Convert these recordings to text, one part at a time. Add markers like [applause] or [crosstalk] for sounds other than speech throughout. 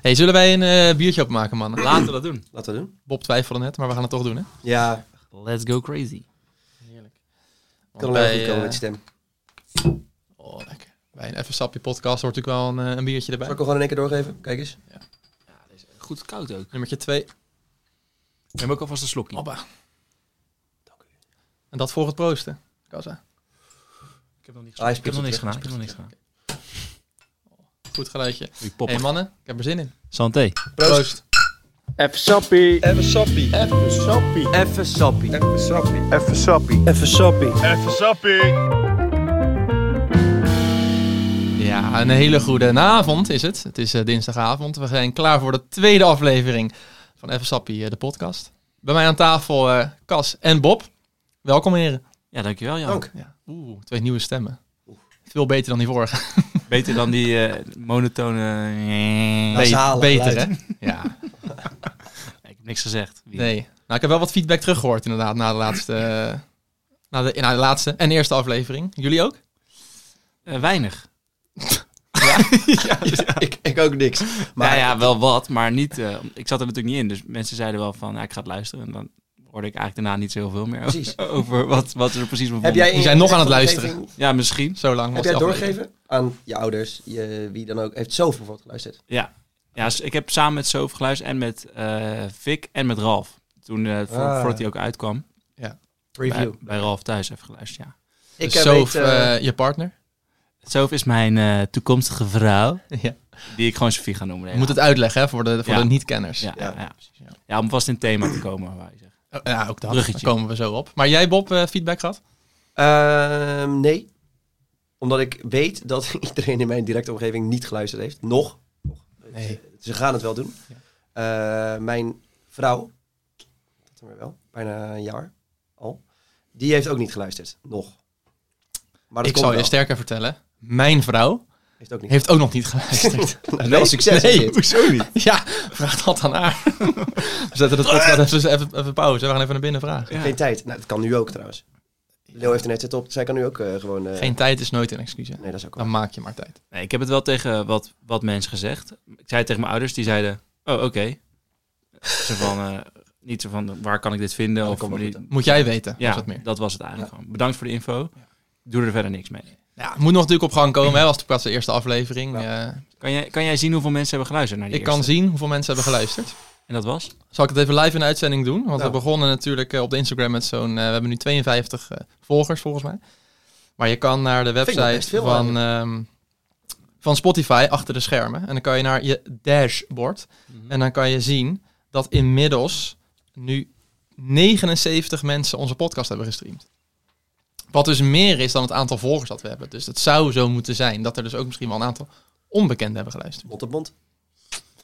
Hey, zullen wij een eh, biertje opmaken, man? Laten we dat doen. Laten we doen. Bob twijfelde net, maar we gaan het toch doen, hè? Ja, Let's go crazy. Heerlijk. kan wel goed komen met eh, je stem. Oh, lekker. Bij een Even Sapje podcast hoort natuurlijk wel een, eh, een biertje Zal erbij. ik hem gewoon in één keer doorgeven? Kijk eens. Ja, deze is goed koud ook. Nummertje 2. We hebben ook alvast een slokje. Abba. En dat voor het proosten. Kassa. Ik heb nog niks Ah, hij gedaan. Ik heb nog niks gedaan. speelt Ik heb nog niks gedaan. Goed geluidje. Goeie pop. hey, mannen, ik heb er zin in. Santé. Proost. Even sappie. Even sappie. Even sappie. Even sappie. Even sappie. Even sappie. Even sappie. Even sappie. Ja, een hele goede avond is het. Het is eh, dinsdagavond. We zijn klaar voor de tweede aflevering van Even Sappie, eh, de podcast. Bij mij aan tafel eh, Cas en Bob. Welkom heren. Ja, dankjewel Jan. Dank. Ja. Oeh, twee nieuwe stemmen. Veel beter dan die vorige. Beter dan die eh, monotone... eh, Nee. Nasale beter hè? geluid. [laughs] Ja, Ik heb niks gezegd. Wie? nee. Nou, ik heb wel wat feedback teruggehoord inderdaad na de laatste, eh, na de, na de laatste en eerste aflevering. Jullie ook? Eh, weinig. [laughs] Ik, ik ook niks. Maar Maar ja, ja, wel wat, maar niet... eh, ik zat er natuurlijk niet in, dus mensen zeiden wel van... Ja, ik ga het luisteren en dan hoorde ik eigenlijk daarna niet zo heel veel meer over, Precies. over wat, wat ze er precies van heb vonden. jij Die zijn nog aan het echt luisteren. omgeving- Ja, misschien. Zo lang Heb was jij die het aflevering. doorgegeven aan je ouders, je, wie dan ook, heeft zoveel voor geluisterd? Ja. ja, s- ik heb samen met Sof geluisterd en met eh Vic en met Ralf. Toen, eh, voor- Ah. voordat hij ook uitkwam, bij, Review. bij Ralf thuis heb geluisterd, ja. Ik Dus heb Sof, weet, eh, eh, je partner. Sof is mijn eh, toekomstige vrouw, [laughs] ja. die ik gewoon Sofie ga noemen. Je moet het uitleggen hè, voor de, voor Ja. de niet-kenners. ja, ja, Ja, ja. Ja, om vast in het thema te komen. Waar je zegt. Oh, Ja, ook dat. Bruggetje. Daar komen we zo op. Maar jij, Bob, eh, feedback gehad? Ehm, nee. Omdat ik weet dat [laughs] iedereen in mijn directe omgeving niet geluisterd heeft. Nog. Nee. Ze gaan het wel doen. Eh, mijn vrouw, dat doen we wel, bijna een jaar al, die heeft ook niet geluisterd. Nog. Maar dat Ik komt zal je wel. sterker vertellen. Mijn vrouw Heeft ook niet. heeft ook nog niet geluisterd. [laughs] Nou, wel succes. Nee. is dit. Hoezo niet? ja, vraag dat aan haar. we zetten het podcast even, even, even pauze. We gaan even naar binnen vragen. Ja. Geen tijd. Nou, dat kan nu ook trouwens. Leo heeft een headset op. Zij kan nu ook eh, gewoon... eh, Geen tijd is nooit een excuus. hè. Nee, dat is ook wel. Dan maak je maar tijd. Nee, ik heb het wel tegen wat, wat mensen gezegd. Ik zei het tegen mijn ouders, die zeiden: Oh, oké. [laughs] Zo van, eh, niet zo van waar kan ik dit vinden? dat of komt wel die- goed, Moet jij weten, ja, was het meer. dat was het eigenlijk gewoon. Bedankt voor de info. Doe er verder niks mee. Ja, het moet nog natuurlijk op gang komen. Hè, was de eerste aflevering. Eh, Kan jij, kan jij zien hoeveel mensen hebben geluisterd naar die ik kan eerste? zien hoeveel mensen hebben geluisterd. En dat was? Zal ik het even live in de uitzending doen? Want Nou. we begonnen natuurlijk eh, op de Instagram met zo'n... eh, we hebben nu 52 eh, volgers volgens mij. Maar je kan naar de ik nog best website veel van, ehm, van Spotify achter de schermen. En dan kan je naar je dashboard. Mhm. En dan kan je zien dat inmiddels nu 79 mensen onze podcast hebben gestreamd. Wat dus meer is dan het aantal volgers dat we hebben. Dus het zou zo moeten zijn dat er dus ook misschien wel een aantal onbekenden hebben geluisterd. Mond op mond.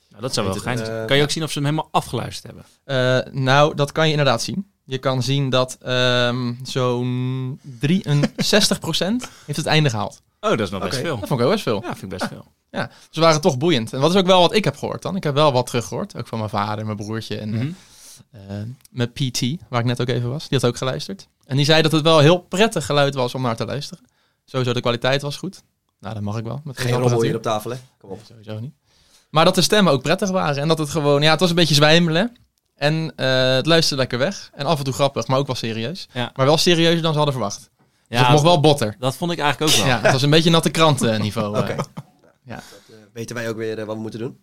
Nou, dat zou wel Weet het, geinig zijn. eh, Kan je ook zien of ze hem helemaal afgeluisterd hebben? Eh, nou, dat kan je inderdaad zien. Je kan zien dat ehm, zo'n 63% heeft het einde gehaald. Oh, dat is nog best Oké. veel. Dat vond ik ook best veel. Ja, vind ik best veel. Ja, dus we waren toch boeiend. En dat is ook wel wat ik heb gehoord dan. Ik heb wel wat teruggehoord. Ook van mijn vader, mijn broertje en Mhm. eh, eh, mijn PT, waar ik net ook even was. Die had ook geluisterd. En die zei dat het wel heel prettig geluid was om naar te luisteren. Sowieso de kwaliteit was goed. Nou, dat mag ik wel. Met Geen deze rommel apparatuur. hier op tafel, hè. Kom op. Sowieso niet. Maar dat de stemmen ook prettig waren. En dat het gewoon, ja, het was een beetje zwijmelen. En eh, het luisterde lekker weg. En af en toe grappig, maar ook wel serieus. Ja. Maar wel serieuzer dan ze hadden verwacht. Dus het Ja, mocht wel botter. dat vond ik eigenlijk ook wel. Ja, het was een beetje natte krantenniveau. eh. Oké. Dat eh, weten wij ook weer eh, wat we moeten doen.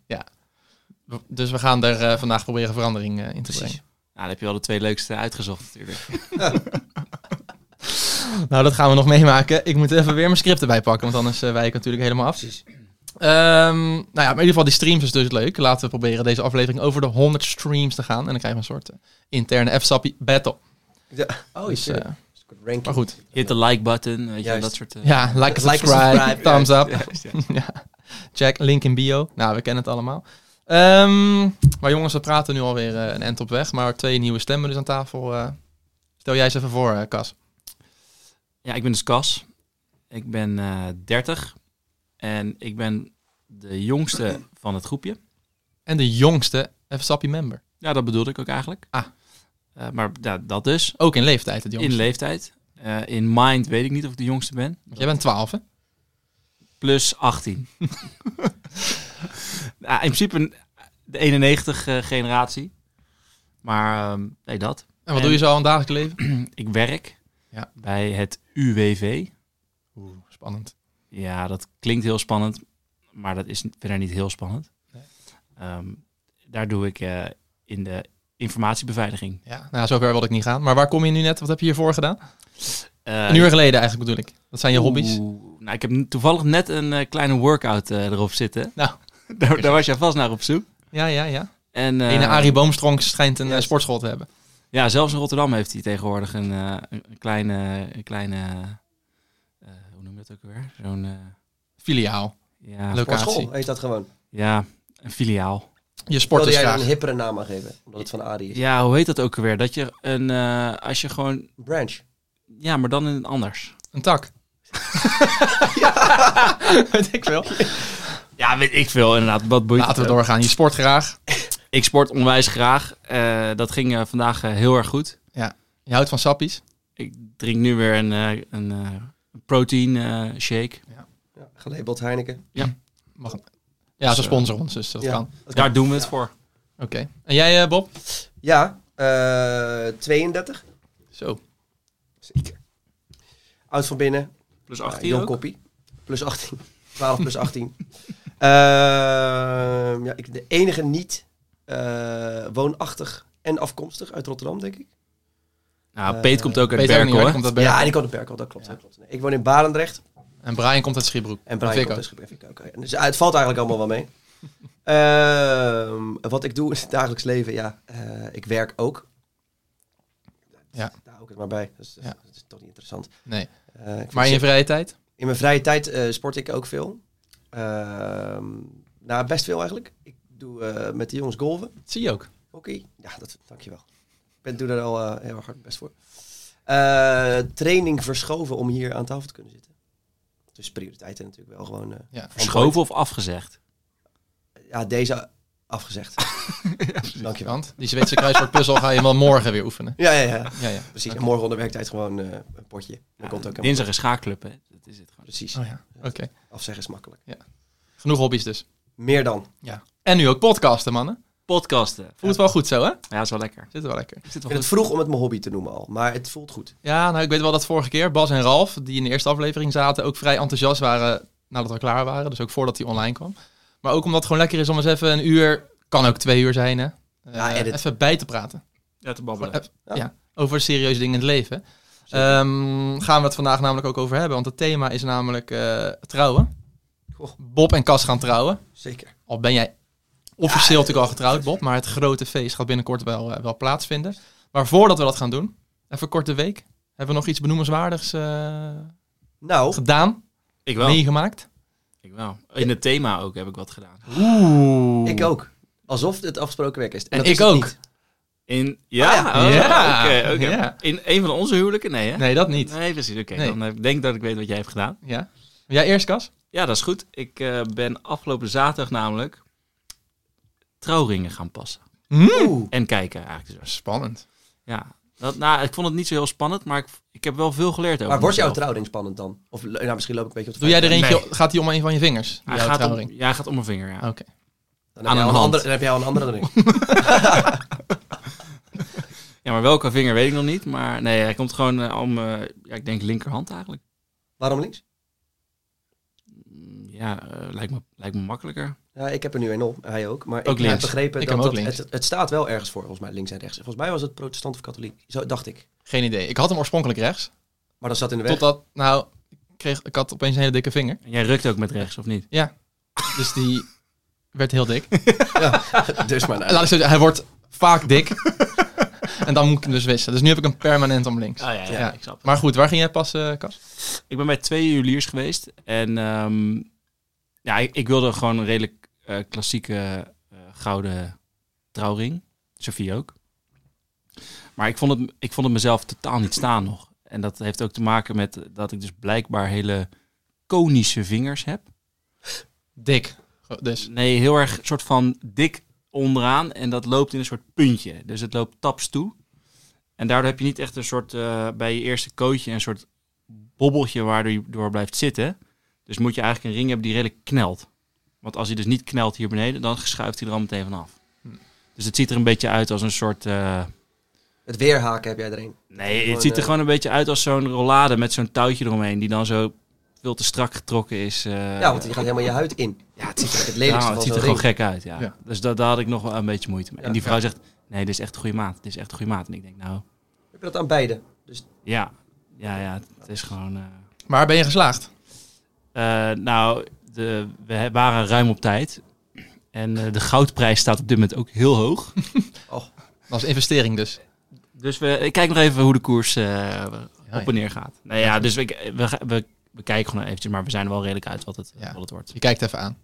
Dus we gaan er eh, vandaag proberen verandering eh, in te brengen. Nou, dan heb je wel de twee leukste uitgezocht natuurlijk. Nou, dat gaan we nog meemaken. Ik moet even weer mijn script erbij pakken, want anders eh, wijk ik natuurlijk helemaal af. Ehm, nou ja, maar in ieder geval, die streams is dus leuk. Laten we proberen deze aflevering over de 100 streams te gaan. En dan krijgen we een soort eh, interne F-sappie battle. Ja. Oh, Dus, shit. eh, ranking. maar goed. Je hit de like button, weet je, wel, Juist. dat soort... eh, Ja, like en Like en subscribe, subscribe, thumbs up. Juist, ja. [laughs] ja. Check, link in bio. Nou, we kennen het allemaal. Ehm, maar jongens, we praten nu alweer eh, een end op weg. Maar twee nieuwe stemmen dus aan tafel. eh. stel jij eens even voor, eh, Cas. Ja, ik ben dus Cas. Ik ben eh 30. En ik ben de jongste van het groepje. En de jongste F-sappie member. Ja, dat bedoelde ik ook eigenlijk. Ah. Eh, maar ja, dat dus. Ook in leeftijd, het jongste. In leeftijd. Eh, in mind weet ik niet of ik de jongste ben. Want jij bent 12, hè? [laughs] Plus 18. nou, in principe de 91-generatie. maar ehm, nee, dat. En wat doe je zo aan het dagelijks leven? Ik werk Ja. bij het UWV. Oeh, spannend. Ja, dat klinkt heel spannend, maar dat is verder niet heel spannend. Ehm, daar doe ik eh, in de informatiebeveiliging. Ja, nou, zover wilde ik niet gaan. Maar waar kom je nu net? Wat heb je hiervoor gedaan? Eh, Een uur geleden eigenlijk bedoel ik. Dat zijn je hobby's. Oeh, nou, ik heb toevallig net een eh, kleine workout eh, erop zitten. Nou. [laughs] daar, daar was jij vast naar op zoek. Ja, ja, ja. En, eh, Ene Arie Boomstronk schijnt een eh, juist. sportschool te hebben. Ja, zelfs in Rotterdam heeft hij tegenwoordig een, eh, een kleine, een kleine eh, hoe noem je dat ook weer? Zo'n, eh, Filiaal. ja, Leuk. Voor Locatie. school heet dat gewoon. ja, een filiaal. Je sport Wilde is jij er graag. een hippere naam aan geven? Omdat het van Arie is. Ja, hoe heet dat ook weer? Dat je een, eh, als je gewoon, Branch. ja, maar dan in een anders. Een tak. Weet ik veel. Ja, weet ik veel inderdaad. Wat boeit het Laten we ook? doorgaan. Je sport graag. Ik sport onwijs graag. Eh, dat ging eh, vandaag eh, heel erg goed. Je houdt van sappies. Ik drink nu weer een, eh, een eh, protein eh, shake. Ja, gelabeld Heineken. Mag... Ja, ze Zo. sponsoren ons, dus dat Ja. kan. Dat Daar doen we het voor. Oké. En jij, eh, Bob? Ja, eh, 32. Zo. Zeker. Oud van binnen. Plus Ja, 18 jong ook. koppie. Plus 18. [laughs] 12 plus 18. Ehm, ja, ik, de enige niet eh, woonachtig en afkomstig uit Rotterdam, denk ik. Nou, Eh, Peet komt ook uit Peter ook niet, Berkel, hoor. hè? Komt uit Berkel. Ja, die komt op Berkel, dat klopt. Dat klopt. Nee, ik woon in Barendrecht En Brian komt uit Schiebroek. en Brian Vind ik komt ook. dus Schiphol. Oké, Dus eh, het valt eigenlijk allemaal wel mee. [laughs] Ehm, wat ik doe in het dagelijks leven, ja, eh, ik werk ook. Ja. Daar hou ik het maar bij. Dus, Ja. Dat is toch niet interessant. Nee. Eh, ik vind Maar in je vrije tijd? In mijn vrije tijd eh, sport ik ook veel. Ehm, nou, best veel eigenlijk. Ik doe eh, met de jongens golven, Dat zie je ook. hockey. Ja, dat, dankjewel. Ik ben, doe daar al eh, heel erg hard mijn best voor. Eh, training verschoven om hier aan tafel te kunnen zitten. Dus prioriteiten natuurlijk wel gewoon... eh, Ja. Verschoven of afgezegd? ja, deze [laughs] afgezegd. dankjewel. Want die Zweedse kruiswoordpuzzel ga je wel morgen weer oefenen. Ja, ja, ja. Ja, ja. Precies. En morgen onder werktijd gewoon eh, een potje. Dat komt ook helemaal Dinsdag is schaakclub, hè? Dat is het goed. gewoon. Precies. Oh ja, oké. Afzeggen is makkelijk. Genoeg hobby's dus. Meer dan. En nu ook podcasten, mannen. Podcasten. Voelt wel goed zo, hè? Ja, dat is wel lekker. Zit wel lekker. Zit Ik wel vind het goed. vroeg om het mijn hobby te noemen al, maar het voelt goed. Ja, nou, ik weet wel dat vorige keer Bas en Ralf, die in de eerste aflevering zaten, ook vrij enthousiast waren nadat we klaar waren. Dus ook voordat hij online kwam. Maar ook omdat het gewoon lekker is om eens even een uur, kan ook twee uur zijn, hè? eh, Ja, edit. even bij te praten. Ja, te Gewoon, babbelen. eh, Ja. ja, over serieuze dingen in het leven. Zeker. Ehm, gaan we het vandaag namelijk ook over hebben, want het thema is namelijk eh, trouwen. Goh. Bob en Cas gaan trouwen. Zeker. Al ben jij officieel natuurlijk al getrouwd, Bob. Maar het grote feest gaat binnenkort wel, eh, wel plaatsvinden. Maar voordat we dat gaan doen, even kort de week. Hebben we nog iets benoemenswaardigs eh, Nou, gedaan, Ik wel. meegemaakt? Ik wel. In het thema ook heb ik wat gedaan. Oeh. Ik ook. Alsof het afgesproken werk is. En dat ik is het ook. niet. In, ja, Ah, ja. oh, Ja. oké, oké. Ja. In een van onze huwelijken? Nee, hè? Nee, dat niet. Nee, precies. Oké, Nee. dan eh, denk ik dat ik weet wat jij hebt gedaan. Ja. Wil Jij eerst, Kas? Ja, dat is goed. Ik eh, ben afgelopen zaterdag namelijk trouwringen gaan passen. Hm? Oeh. En kijken eigenlijk. Dus. Spannend. Ja, dat, nou, ik vond het niet zo heel spannend, maar ik, ik heb wel veel geleerd over Maar wordt jouw mezelf. trouwring spannend dan? Of le- nou, misschien loop ik een beetje op de Doe jij er feiten. eentje, Nee. gaat die om een van je vingers? Hij Jouw gaat om, trouwring. Oh. ja, hij gaat om mijn vinger, ja. Oké. aan Dan heb, jij een al een hand. andere, dan heb jij al een [laughs] andere ring. Ja, maar welke vinger weet ik nog niet. Maar nee, hij komt gewoon eh, om, eh, ja, ik denk linkerhand eigenlijk. Waarom links? Mm, Ja, eh, lijkt, me, lijkt me makkelijker. Ja, ik heb er nu een op, hij ook. Maar Ook ik heb links. begrepen Ik dat, heb hem ook dat links. Het, het staat wel ergens voor, volgens mij, links en rechts. Volgens mij was het protestant of katholiek. Zo dacht ik. Geen idee. Ik had hem oorspronkelijk rechts. Maar dat zat in de weg. Totdat, nou, ik, kreeg, ik had opeens een hele dikke vinger. En jij rukt ook met rechts, of niet? Dus die werd heel dik. [laughs] dus maar nou. Laat ik zo zeggen, hij wordt vaak dik. [laughs] en dan moet ik hem dus wisselen. Dus nu heb ik hem permanent om links. ja, ja, Ja. ik snap Maar goed, waar ging jij pas, eh Kas? Ik ben bij twee juweliers geweest. En ehm, ja, ik, ik wilde gewoon een redelijk eh, klassieke eh, gouden trouwring. Sophie ook. Maar ik vond, het, ik vond het mezelf totaal niet staan nog. En dat heeft ook te maken met dat ik dus blijkbaar hele konische vingers heb. Dik. Go- Dus. Nee, heel erg soort van dik onderaan. En dat loopt in een soort puntje. Dus het loopt taps toe. En daardoor heb je niet echt een soort, eh, bij je eerste kootje, een soort bobbeltje waardoor je door blijft zitten. Dus moet je eigenlijk een ring hebben die redelijk knelt. Want als hij dus niet knelt hier beneden, dan schuift hij er al meteen vanaf. Hm. Dus het ziet er een beetje uit als een soort... eh, Het weerhaken heb jij erin. nee, Gewoon, het ziet er eh, gewoon een beetje uit als zo'n rollade met zo'n touwtje eromheen. Die dan zo veel te strak getrokken is. eh. ja, want die gaat helemaal je huid in. Ja, het ziet er het lelijkste Nou, van het ziet zo'n er gewoon ring. gek uit, ja. Ja. Dus da- daar had ik nog wel een beetje moeite mee. Ja. en die vrouw zegt, nee, dit is echt een goede maat. Dit is echt een goede maat. En ik denk, nou, Heb je dat aan beide? Dus ja. Ja, ja, het is gewoon... eh, Maar ben je geslaagd? eh, nou, de, we he- waren ruim op tijd. En eh, de goudprijs staat op dit moment ook heel hoog. Als investering dus. Dus we, ik kijk nog even hoe de koers eh, op en neer gaat. Nou ja, dus we, we, ga- we, we kijken gewoon eventjes. Maar we zijn er wel redelijk uit wat het, Ja. wat het wordt. Je kijkt even aan.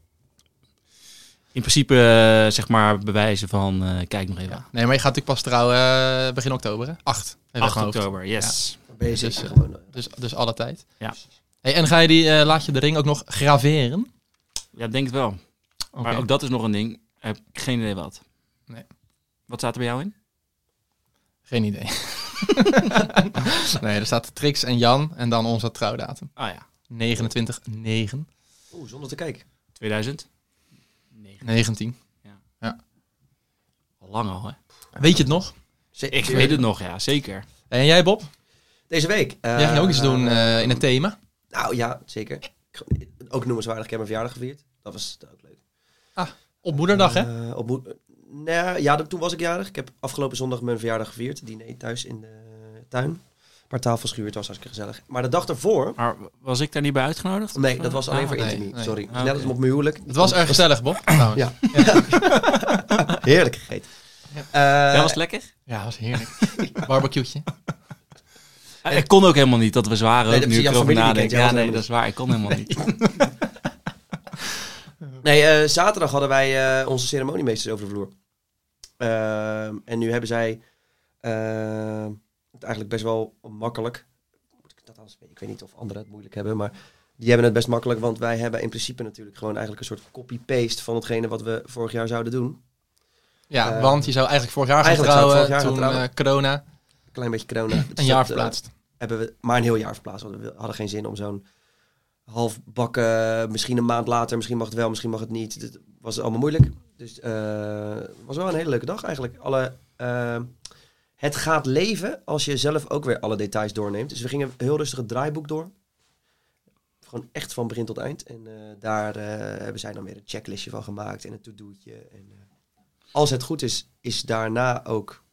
In principe, eh, zeg maar, bewijzen van... eh, kijk nog even. Ja. Nee, maar je gaat natuurlijk pas trouwen eh, begin oktober, hè? 8. Even uit 8 mijn hoofd. oktober, yes. dan ben je Dus, zeker eh, gewoon... eh, Dus, dus alle tijd. Ja. Hey, en ga je die, eh, laat je de ring ook nog graveren? Ja, ik denk het wel. Maar ook dat is nog een ding. Heb ik geen idee wat. Nee. Wat staat er bij jou in? Geen idee. [laughs] nee, er staat Trix en Jan en dan onze trouwdatum. Ah ja, 29, 9, eh, Oeh, zonder te kijken. 2000. Nee, 19. al lang al hè. Weet je het nog? Ze- Ik weet het nog, ja, zeker. En jij Bob? Deze week. eh, Jij ging ook iets doen eh, in het thema. Nou ja, zeker. Ik- Ook noemenswaardig, ik heb mijn verjaardag gevierd. Dat was ook leuk. Op moederdag hè? Eh, op moed- nou, ja, dat- toen was ik jarig. Ik heb afgelopen zondag mijn verjaardag gevierd. Diner thuis in de tuin. Een paar tafels gehuurd, was hartstikke gezellig. Maar de dag daarvoor... Maar was ik daar niet bij uitgenodigd? Nee, dat was alleen voor nee, intimie. nee. Sorry. Ah, Net oké. als op mijn huwelijk. Het was erg gezellig [clears throat] Bob, trouwens. Ja. Heerlijk gegeten. Eh, dat was lekker. Ja, was heerlijk. [laughs] Barbecueetje. Eh, Ik kon ook helemaal niet dat we zwaren. Nee, ook dat nu is ik jouw erover familie die nadenk. kent, jij Ja, was nee, dat is helemaal waar. Ik kon helemaal [laughs] niet. Nee, eh, zaterdag hadden wij eh, onze ceremoniemeesters over de vloer. Ehm, en nu hebben zij ehm, het eigenlijk best wel makkelijk. Moet ik dat anders- Ik weet niet of anderen het moeilijk hebben, maar die hebben het best makkelijk. Want wij hebben in principe natuurlijk gewoon eigenlijk een soort copy-paste van hetgene wat we vorig jaar zouden doen. Ja, Eh, want je zou eigenlijk vorig jaar gaan eigenlijk zou ik trouwen. vorig jaar gaan toen eh, trouwen. corona Een klein beetje corona. Dus een jaar dat, verplaatst. eh, hebben we maar een heel jaar verplaatst. Want we hadden geen zin om zo'n half bakken, misschien een maand later, misschien mag het wel, misschien mag het niet. Het was allemaal moeilijk. Dus eh, het was wel een hele leuke dag eigenlijk. Alle, eh, het gaat leven als je zelf ook weer alle details doorneemt. Dus we gingen heel rustig het draaiboek door. Gewoon echt van begin tot eind. En eh, daar eh, hebben zij dan weer een checklistje van gemaakt en een to-do'tje. En, eh, als het goed is, is daarna ook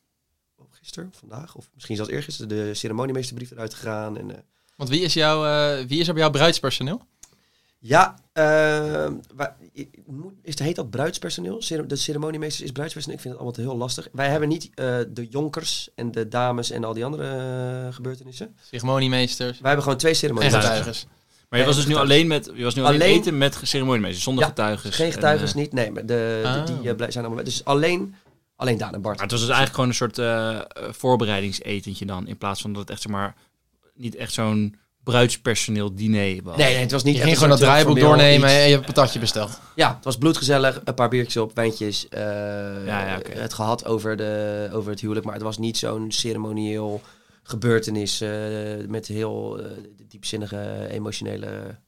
oh, gisteren, of vandaag, of misschien zelfs eergisteren, de ceremoniemeesterbrief eruit gegaan. En, eh, Want wie is, jouw, eh, wie is er bij jou bruidspersoneel? ja, eh, wa- i- moet- is, heet dat bruidspersoneel? Cere- De ceremoniemeesters is bruidspersoneel. Ik vind het allemaal heel lastig. Wij hebben niet eh, de jonkers en de dames en al die andere eh, gebeurtenissen. Ceremoniemeesters Wij hebben gewoon twee en ceremonies. getuigers. Maar je was dus nu alleen met je was nu alleen, Alleen- eten met ceremoniemeester. Zonder Ja, dus getuigen. eh, Geen getuigen niet. Nee, maar de, eh, Ah. die, die, eh, blij- zijn allemaal... Dus alleen, alleen Daan en Bart. Maar het was dus eigenlijk gewoon een soort eh, eh, voorbereidingsetentje dan. In plaats van dat het echt, zeg maar, niet echt zo'n bruidspersoneel diner was. nee, nee, het was niet Je echt ging een gewoon dat soort heel draaiboek formeel doornemen iets. en je hebt een patatje besteld. Ja, het was bloedgezellig. Een paar biertjes op, wijntjes. eh, Ja, ja, oké. Het gehad over, de, over het huwelijk. Maar het was niet zo'n ceremonieel gebeurtenis. eh, met heel eh, diepzinnige, emotionele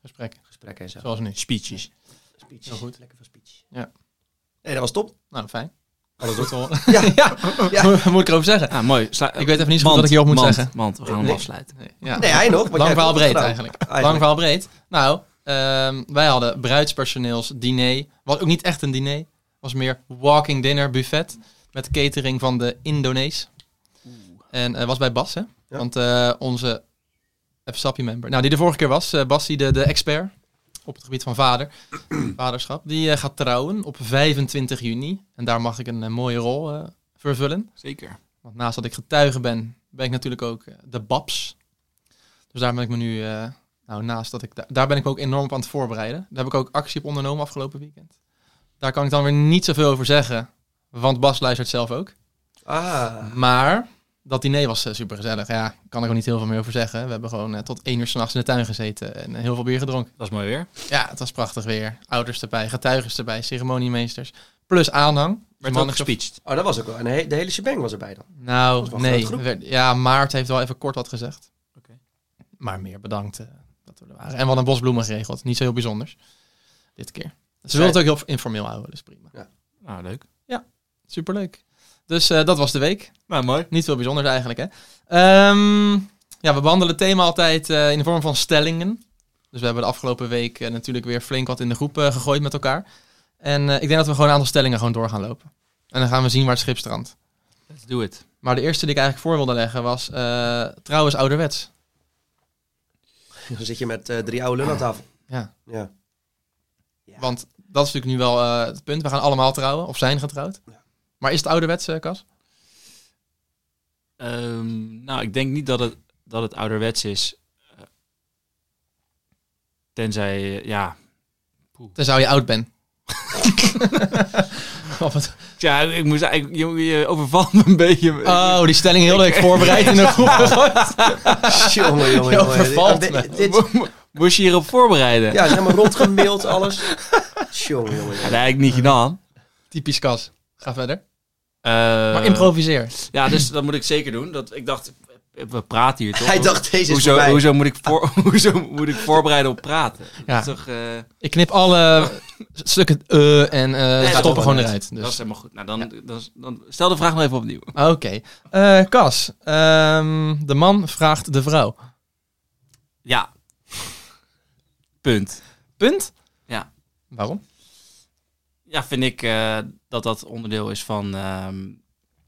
Gesprek, gesprekken en zo. zoals nu. Speeches. Speech. Heel goed. Lekker van speech. Ja. Nee, dat was top. Nou, fijn. Alles Goed hoor. Oh, Ja. [laughs] ja. Ja. Moet ik erover zeggen? Ah, mooi. Sla- Ik weet even niet zo goed wat ik hierop moet mand, zeggen. Mand, we gaan hem Nee. afsluiten. Nee, ja. Nee, hij nog. want jij Lang hebt verhaal het breed gedaan. eigenlijk. Lang Eigenlijk. verhaal breed. Nou, ehm, wij hadden bruidspersoneelsdiner. Was ook niet echt een diner. Was meer walking dinner buffet. Met catering van de Indonees. En eh, was bij Bas, hè? Ja. Want eh, onze FSAPI member. Nou, die de vorige keer was. eh Bas, die de, de expert op het gebied van [clears throat] vader. vaderschap. Die eh, gaat trouwen op 25 juni. En daar mag ik een eh, mooie rol eh, vervullen. Zeker. Want naast dat ik getuige ben, ben ik natuurlijk ook eh, de babs. Dus daar ben ik me nu, eh, nou naast dat ik, da- daar ben ik me ook enorm op aan het voorbereiden. Daar heb ik ook actie op ondernomen afgelopen weekend. Daar kan ik dan weer niet zoveel over zeggen, want Bas luistert zelf ook. Ah, Maar dat diner was super supergezellig. Ja, kan ik ook niet heel veel meer over zeggen. We hebben gewoon eh, tot één uur s'nachts in de tuin gezeten en eh, heel veel bier gedronken. Dat is mooi weer. Ja, het was prachtig weer. Ouders erbij, getuigen erbij, ceremoniemeesters. Plus aanhang. Werd Mannen- ook gespeecht. oh, dat was ook wel. En de he- de hele shebang was erbij dan. [laughs] Nou, Dat was wel een nee. grote groep. werd- ja, Maart heeft wel even kort wat gezegd. Oké. Maar meer bedankt eh, dat we er waren. En we hadden bosbloemen geregeld. Niet zo heel bijzonders. Dit keer. Ze wilden het ook heel informeel houden, dus prima. Nou, leuk. Superleuk. Dus eh, dat was de week. Nou, mooi. Niet veel bijzonders eigenlijk, hè? Ehm, ja, we behandelen het thema altijd eh, in de vorm van stellingen. Dus we hebben de afgelopen week eh, natuurlijk weer flink wat in de groep eh, gegooid met elkaar. En eh, ik denk dat we gewoon een aantal stellingen gewoon door gaan lopen. En dan gaan we zien waar het schip strandt. Let's do it. Maar de eerste die ik eigenlijk voor wilde leggen was... eh trouw is ouderwets. Dan zit je met eh, drie oude lullen aan tafel. Ja. [laughs] Ja. Ja. Want dat is natuurlijk nu wel eh, het punt. We gaan allemaal trouwen of zijn getrouwd. Ja. Maar is het ouderwets, eh, Cas? Ehm, nou, ik denk niet dat het, dat het ouderwets is. Eh, Tenzij, eh, ja. Tenzij je oud bent. [laughs] Of het- Ja, ik moest eigenlijk, je, je overvalt me een beetje. oh, die stelling heel leuk voorbereid [laughs] in de groep. Jongen, jongen, Je jongen. overvalt Dit- me. dit- dit- Mo- mo- Moest je hierop voorbereiden? ja, ze hebben rondgemaild, alles. Jongen, jongen, Ja, jongen. dat heb ik niet gedaan. Typisch Cas. Ga verder. Eh, Maar improviseer. Ja, dus dat moet ik zeker doen. Dat, ik dacht, we praten hier toch? Hij dacht, deze is hoezo, voorbij. hoezo, moet ik voor, [laughs] hoezo moet ik voorbereiden op praten? Ja. Dat is toch... eh, Ik knip alle stukken eh en eh dat stoppen is gewoon wel eruit. Dat is Dus. helemaal goed. Nou, dan, dan, is- dan stel de vraag nog even opnieuw. Oké. Eh Cas, ehm, de man vraagt de vrouw. Ja. Punt. Punt? Ja. Waarom? Ja, vind ik eh, dat dat onderdeel is van, ehm,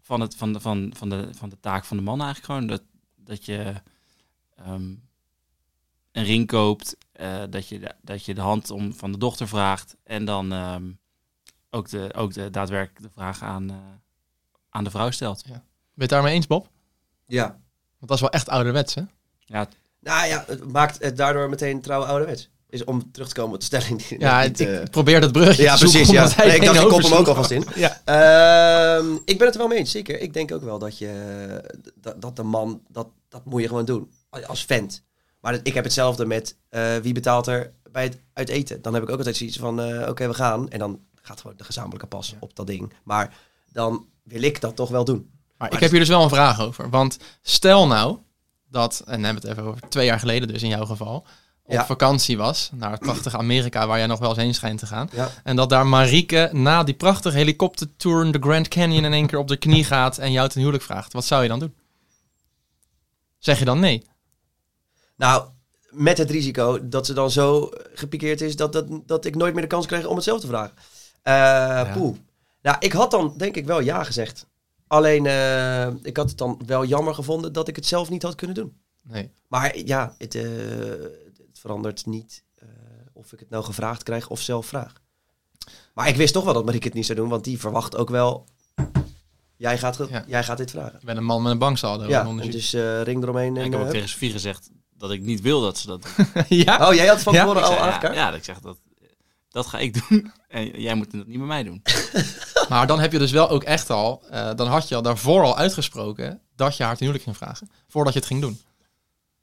van, het, van, de, van, van, de, van de taak van de man eigenlijk gewoon. Dat, dat je ehm, een ring koopt, eh, dat, je, de- dat je de hand om, van de dochter vraagt en dan ehm, ook, de, ook de daadwerkelijk de vraag aan, eh, aan de vrouw stelt. Ben je het daarmee eens, Bob? Ja. Want dat is wel echt ouderwets, hè? Ja, Nou ja, het maakt het daardoor meteen trouw ouderwets. Is om terug te komen op de stelling. Die Ja, niet, ik eh, probeer dat brugje [laughs] ja te zoeken. precies. Ja. omdat hij Nee, ik dacht, ik heen kop hem ook oversloeg. alvast in. Ja. Ehm, ik ben het er wel mee eens, zeker. Ik denk ook wel dat je eh, dat, dat de man, dat, dat moet je gewoon doen. Als vent. Maar dat- ik heb hetzelfde met eh, wie betaalt er bij het uit eten. Dan heb ik ook altijd zoiets van, eh, oké, we gaan. En dan gaat gewoon de gezamenlijke pas op dat ding. Maar dan wil ik dat toch wel doen. Maar ik Maar heb hier dus wel een vraag over. Want stel nou dat, en dan hebben we het even over twee jaar geleden dus in jouw geval, op Ja. vakantie was naar het prachtige Amerika waar jij nog wel eens heen schijnt te gaan. Ja. En dat daar Marieke na die prachtige helikoptertour de Grand Canyon in één keer op de knie gaat en jou ten huwelijk vraagt. Wat zou je dan doen? Zeg je dan nee? Nou, met het risico dat ze dan zo gepikeerd is dat, dat, dat ik nooit meer de kans krijg om het zelf te vragen. Eh Poeh. Nou, ik had dan denk ik wel ja gezegd. Alleen, eh, ik had het dan wel jammer gevonden dat ik het zelf niet had kunnen doen. Nee. Maar ja, het, eh, het verandert niet eh, of ik het nou gevraagd krijg of zelf vraag. Maar ik wist toch wel dat Marieke het niet zou doen, want die verwacht ook wel... Jij gaat, ge- Ja. jij gaat dit vragen. Ik ben een man met een banksaldo. ja, een en [laughs] onderzoek. dus eh, ring eromheen. En, ik heb ook eh, tegen Sofie gezegd dat ik niet wil dat ze dat doen. ja? oh, jij had van Ja, tevoren Ik al zei, ja, aangekaart? ja, dat ik zeg dat, dat ga ik doen [laughs] en jij moet dat niet met mij doen. Maar dan heb je dus wel ook echt al, eh, dan had je al daarvoor al uitgesproken dat je haar ten huwelijk ging vragen. Voordat je het ging doen.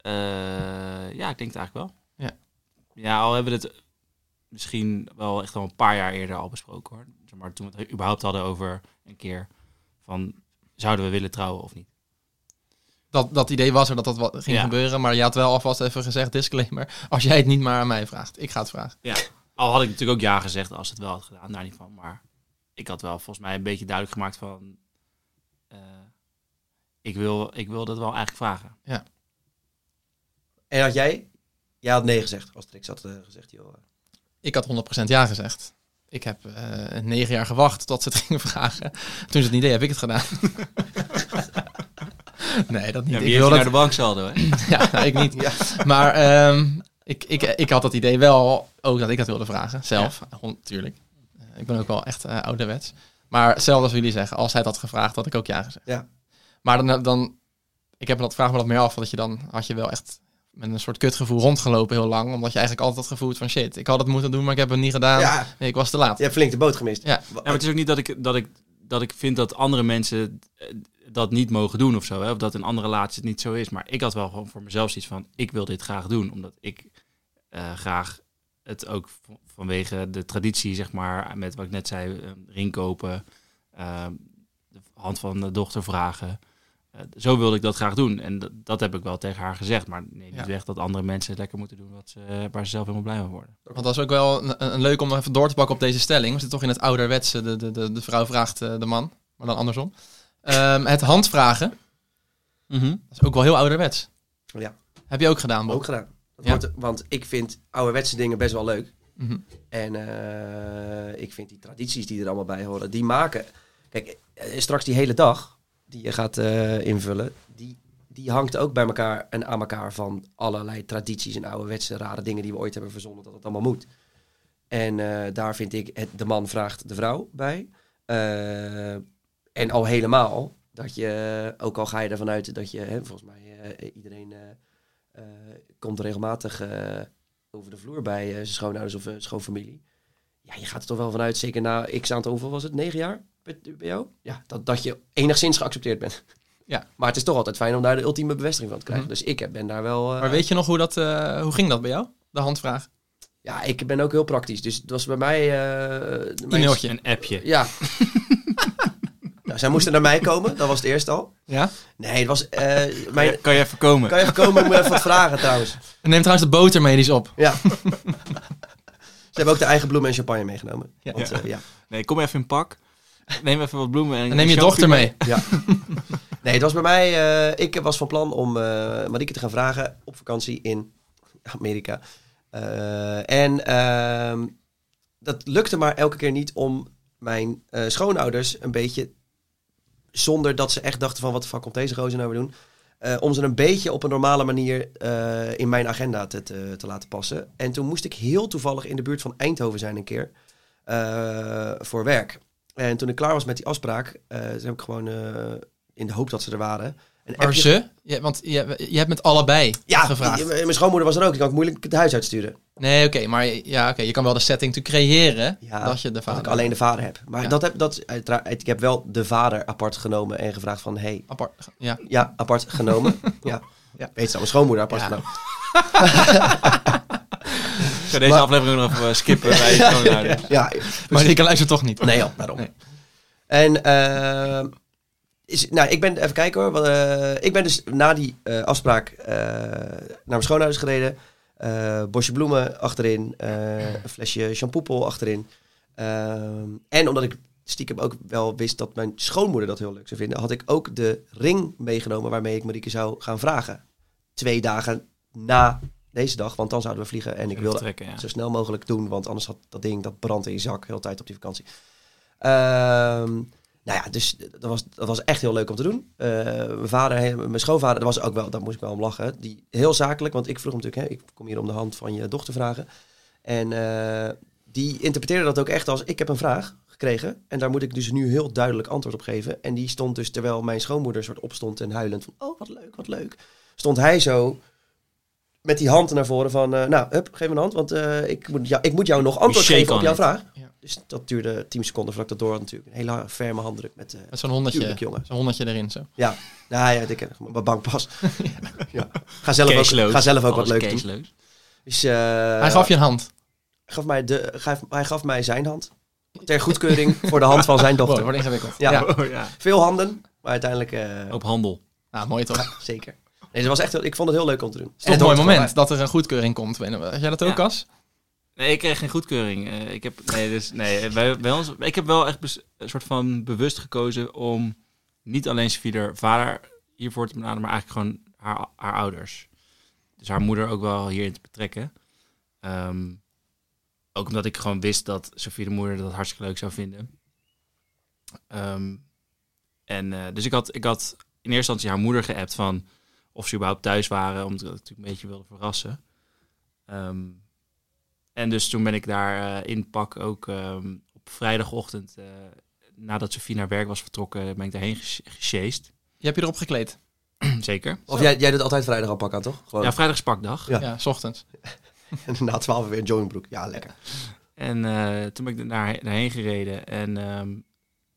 Eh, ja, ik denk het eigenlijk wel. Ja. Ja, al hebben we het misschien wel echt al een paar jaar eerder al besproken hoor. Zeg Maar toen we het überhaupt hadden over een keer van zouden we willen trouwen of niet. dat, dat idee was er dat dat wat ging Ja. gebeuren. Maar je had wel alvast even gezegd, disclaimer. Als jij het niet maar aan mij vraagt, ik ga het vragen. Al had ik natuurlijk ook ja gezegd als het wel had gedaan, daar niet van. Maar ik had wel volgens mij een beetje duidelijk gemaakt van eh, ik, wil, ik wil dat wel eigenlijk vragen. En had jij? Jij had nee gezegd. Als Trix had eh, gezegd, joh. eh, Ik had 100% ja gezegd. Ik heb eh, negen jaar gewacht tot ze het [laughs] gingen vragen. Toen ze het niet deed, heb ik het gedaan. [laughs] nee, dat niet. Ja, ik wie heeft nou wil hier dat... naar de bank saldo hè? [laughs] ja, nou, ik niet. Ja. Maar ehm, ik, ik, ik had dat idee wel ook dat ik dat wilde vragen. Zelf, natuurlijk. ik ben ook wel echt eh, ouderwets. Maar hetzelfde als jullie zeggen, als hij dat had gevraagd, had ik ook ja gezegd. Ja. Maar dan, dan ik heb me dat, vraag me dat meer af, dat je dan had je wel echt met een soort kutgevoel rondgelopen heel lang. Omdat je eigenlijk altijd dat gevoel hebt van shit, ik had het moeten doen, maar ik heb het niet gedaan. ja, Nee, ik was te laat. je hebt flink de boot gemist. Ja. Wa- Ja, maar het is ook niet dat ik, dat ik, dat ik vind dat andere mensen eh, dat niet mogen doen of zo. Hè? Of dat in andere relaties het niet zo is. Maar ik had wel gewoon voor mezelf zoiets van, ik wil dit graag doen. Omdat ik eh, graag het ook v- vanwege de traditie, zeg maar, met wat ik net zei, een ring kopen, eh, de hand van de dochter vragen. Eh, zo wilde ik dat graag doen. En dat, dat heb ik wel tegen haar gezegd. Maar nee, niet Ja. weg dat andere mensen het lekker moeten doen wat ze, eh, waar ze zelf helemaal blij van worden. Want dat is ook wel een, een- een leuk om nog even door te pakken op deze stelling. We zitten toch in het ouderwetse, de, de, de, de vrouw vraagt eh, de man. maar dan andersom. Ehm, het handvragen, Mhm. dat is ook wel heel ouderwets. Ja. Heb je ook gedaan, Bob? Ook gedaan. Dat Ja. hoort- want ik vind ouderwetse dingen best wel leuk. Mhm. En eh, ik vind die tradities die er allemaal bij horen, die maken. Kijk, eh, straks die hele dag die je gaat eh, invullen, die, die hangt ook bij elkaar en aan elkaar van allerlei tradities en ouderwetse rare dingen die we ooit hebben verzonnen, dat het allemaal moet. En eh, daar vind ik het, de man vraagt de vrouw bij. Eh, en al helemaal dat je, ook al ga je ervan uit dat je, hè, volgens mij, eh, iedereen eh, eh, komt regelmatig eh, over de vloer bij eh, zijn schoonouders of eh, schoonfamilie. Ja, je gaat er toch wel vanuit, zeker na x aantal, hoeveel was het, negen jaar bij, bij jou? Ja, dat, dat je enigszins geaccepteerd bent. [laughs] Ja. Maar het is toch altijd fijn om daar de ultieme bevestiging van te krijgen. Mhm. Dus ik heb- ben daar wel... eh, Maar weet je nog hoe, dat, eh, hoe ging dat bij jou? De handvraag. Ja, ik ben ook heel praktisch. Dus het was bij mij... eh mijn- E-mailtje. Een appje. Ja. [laughs] nou, zij moesten naar mij komen, dat was het eerst al. Ja? Nee, het was... eh, mijn... Kan je even komen? Kan je even komen om even wat vragen trouwens? En neem trouwens de boter mee, die is op. [laughs] Ja. Ze hebben ook de eigen bloemen en champagne meegenomen. Ja. Want, eh, ja. Nee, kom even in pak. Neem even wat bloemen. En, En neem je en dochter champagne. mee. Nee, het was bij mij... eh, ik was van plan om eh Marieke te gaan vragen op vakantie in Amerika. Eh, en ehm, dat lukte maar elke keer niet om mijn eh, schoonouders een beetje... Zonder dat ze echt dachten van wat de fuck komt deze gozer nou weer doen. eh, om ze een beetje op een normale manier eh, in mijn agenda te, te, te laten passen. En toen moest ik heel toevallig in de buurt van Eindhoven zijn een keer. eh, voor werk. En toen ik klaar was met die afspraak, eh toen heb ik gewoon eh, in de hoop dat ze er waren. Een Maar appje- ze? Je, want je, je hebt met allebei ja, gevraagd. die- mijn schoonmoeder was er ook. Die kan ik moeilijk het huis uitsturen. Nee, oké, maar ja, oké, je kan wel de setting te creëren Ja, dat je de Dat vader ik alleen de vader heb. Maar Ja. dat heb dat, is uiteraard, ik heb wel de vader apart genomen en gevraagd van... Hey, apart. Ja, ja, apart [laughs] genomen. ja. Ja. Ja. Weet je wel, mijn schoonmoeder apart Ja. genomen. Ik ga deze Maar- aflevering nog even eh, skippen bij je schoonouders. Ja, maar die kan luisteren toch niet. nee joh, daarom. Nee. En ehm, is, nou, ik ben even kijken hoor. want, eh, ik ben dus na die eh, afspraak eh, naar mijn schoonouders gereden. Eh, bosje bloemen achterin, eh, een flesje shampoopel achterin. Ehm, en omdat ik stiekem ook wel wist dat mijn schoonmoeder dat heel leuk zou vinden, had ik ook de ring meegenomen waarmee ik Marieke zou gaan vragen. Twee dagen na deze dag, want dan zouden we vliegen. En ik wilde Trekken, ja. zo snel mogelijk doen. Want anders had dat ding, dat brandt in je zak heel de tijd op die vakantie. Ehm, nou ja, dus dat was, dat was echt heel leuk om te doen. Eh, mijn vader, he- mijn schoonvader, dat was ook wel, daar moest ik wel om lachen. Die, heel zakelijk, want ik vroeg hem natuurlijk, hè, ik kom hier om de hand van je dochter vragen. En eh, die interpreteerde dat ook echt als, ik heb een vraag gekregen. En daar moet ik dus nu heel duidelijk antwoord op geven. En die stond dus, terwijl mijn schoonmoeder soort opstond en huilend van, oh wat leuk, wat leuk. Stond hij zo met die hand naar voren van, eh, nou, hup, geef me een hand, want eh, ik, moet jou, ik moet jou nog antwoord shake geven op on jouw it. vraag. Ja. Dus dat duurde tien seconden voordat ik dat door had natuurlijk. Een hele ferme handdruk met, eh Met zo'n honderdje, tuurlijk jongen. zo'n honderdje erin zo. Nou ja, ik heb [laughs] mijn bankpas. ja. Ga zelf ook, Caseload. ga zelf ook wat Alles leuk doen. caseloos. Dus, eh, Hij gaf je een hand. gaf mij de, gaf- hij gaf mij zijn hand. Ter goedkeuring voor de hand van zijn Wow, dochter. dat wordt ingewikkeld. Ja. Ja. Oh, ja. Veel handen, maar uiteindelijk eh, Op handel. Nou, mooi [laughs] toch? ja, zeker. Nee, dat was echt, heel- ik vond het heel leuk om te doen. Het is toch een En het mooi hoort er moment dat er een goedkeuring komt. Weet je wel. Had jij dat ook, Ja. Cas? Nee, ik kreeg geen goedkeuring. Eh, ik, heb, nee, dus, nee, bij, bij ons, ik heb wel echt bes- een soort van bewust gekozen om niet alleen Sofie vader hiervoor te benaderen, maar eigenlijk gewoon haar, haar ouders. Dus haar moeder ook wel hierin te betrekken. Ehm, ook omdat ik gewoon wist dat Sofie de moeder dat hartstikke leuk zou vinden. Ehm, en, eh, dus ik had, ik had in eerste instantie haar moeder geappt van of ze überhaupt thuis waren, omdat ik natuurlijk een beetje wilde verrassen. Ehm, en dus toen ben ik daar eh, in pak ook ehm, op vrijdagochtend, eh, nadat Sofie naar werk was vertrokken, ben ik daarheen gesj- gesjeest. [clears throat] Je hebt je erop gekleed. Zeker. Of jij, jij doet altijd vrijdag al pak aan, toch? Gewoon Ja, vrijdag is pakdag. Ja, Ja. s ochtends. [laughs] na twaalf weer een joggingbroek. Ja, lekker. En eh, toen ben ik daar, daarheen gereden en ehm,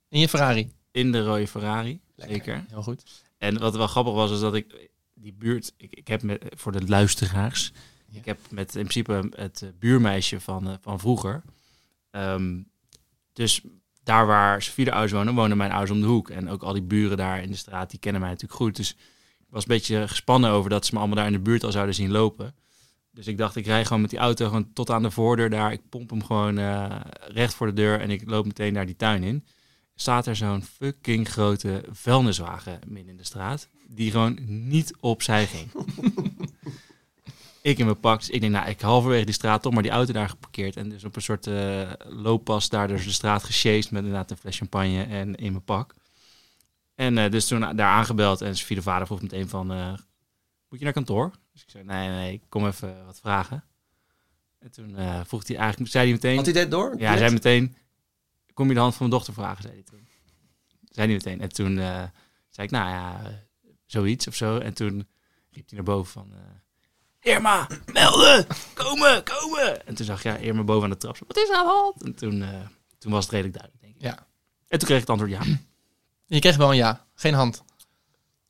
In je Ferrari. in de rode Ferrari. Lekker. Zeker. Heel goed. En wat wel grappig was, is dat ik die buurt, ik, ik heb met, voor de luisteraars, Ja. ik heb met in principe het eh, buurmeisje van, eh, van vroeger. Ehm, dus daar waar Sofie de ouders wonen, wonen mijn ouders om de hoek. En ook al die buren daar in de straat, die kennen mij natuurlijk goed. Dus ik was een beetje gespannen over dat ze me allemaal daar in de buurt al zouden zien lopen. Dus ik dacht, ik rij gewoon met die auto gewoon tot aan de voordeur daar. Ik pomp hem gewoon eh, recht voor de deur en ik loop meteen naar die tuin in. staat er zo'n fucking grote vuilniswagen midden in de straat. Die gewoon niet opzij ging. ik in mijn pak. Dus ik denk, nou, ik halverwege die straat toch maar die auto daar geparkeerd. En dus op een soort eh, looppas daar dus de straat gesjeest met inderdaad een fles champagne en in mijn pak. En eh, dus toen daar aangebeld en Sofie de vader vroeg meteen van, eh, moet je naar kantoor? Dus ik zei, nee, nee, ik kom even wat vragen. En toen eh, vroeg hij eigenlijk, zei hij meteen... Had hij dit door? Ja, hij zei meteen, kom je de hand van mijn dochter vragen, zei hij toen. Zei hij meteen. En toen eh, zei ik, nou ja, eh, zoiets of zo. En toen riep hij naar boven van, eh, Irma, melden, komen, komen. En toen zag ik ja, Irma boven aan de trap, zo, wat is er aan de hand? En toen, eh, toen was het redelijk duidelijk, denk ik. Ja. En toen kreeg ik het antwoord, ja, Je kreeg wel een ja. Geen hand.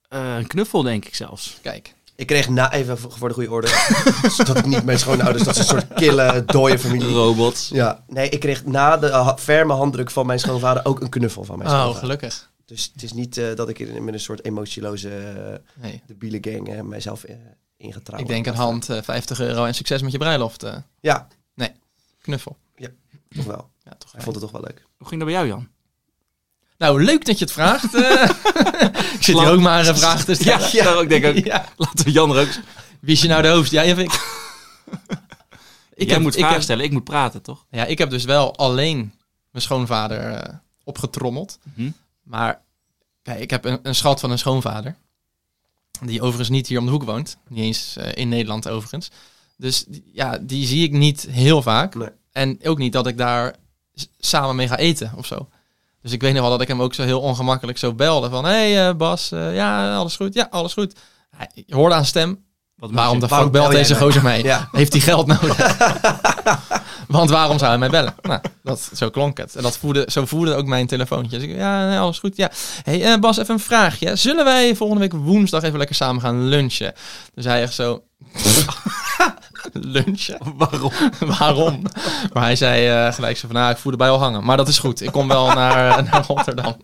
Eh, een knuffel denk ik zelfs. Kijk. Ik kreeg na, even voor voor de goede orde, [laughs] zodat ik niet mijn schoonouders, dat is een soort kille, dode familie. Robots. Ja, nee, ik kreeg na de ha- ferme handdruk van mijn schoonvader ook een knuffel van mijn Oh, schoonvader. gelukkig. Dus het is niet eh, dat ik in, met een soort emotieloze, eh, Nou, Nee. debiele gang eh, mijzelf eh ingetrouwd Ik denk een hand, eh, 50 euro en succes met je bruiloft. eh, Ja, knuffel. toch wel. Ja, toch Ik vond het toch wel leuk. Hoe ging dat bij jou, Jan? Nou, leuk dat je het vraagt. [laughs] eh. ik zit hier ook maar een vraag te stellen. ja, daar ook denk [laughs] ik ook. Ja. Laten we Jan er ook... Wie is je nou de hoofd? Ja, ik. Ik Jij moet ik vragen heb, stellen, ik moet praten, toch? ja, ik heb dus wel alleen mijn schoonvader eh, opgetrommeld. Mhm. Maar kijk, ik heb een, een schat van een schoonvader. Die overigens niet hier om de hoek woont. Niet eens eh, in Nederland overigens. Dus die- ja, die zie ik niet heel vaak. Nee. En ook niet dat ik daar s- samen mee ga eten of zo. Dus ik weet nog wel dat ik hem ook zo heel ongemakkelijk zo belde. Van, hé hey, eh, Bas, eh, ja, alles goed? Ja, alles goed. Hij, je hoorde aan stem, Wat waarom moet de je- fuck waarom belt bel jij deze mij? gozer mij? Ja, Heeft hij geld [laughs] nodig? Want waarom zou hij mij bellen? Nou, dat, zo klonk het. En dat voelde, zo voelde ook mijn telefoontje. Dus ik, ja, nee, alles goed. Ja. hey, eh, Bas, even een vraagje. Zullen wij volgende week woensdag even lekker samen gaan lunchen? Dus hij echt zo... [laughs] lunchen? [laughs] Waarom? waarom? Maar hij zei eh, gelijk zo van, nou, ik voel erbij al hangen. Maar dat is goed. Ik kom wel naar, [laughs] eh, naar Rotterdam.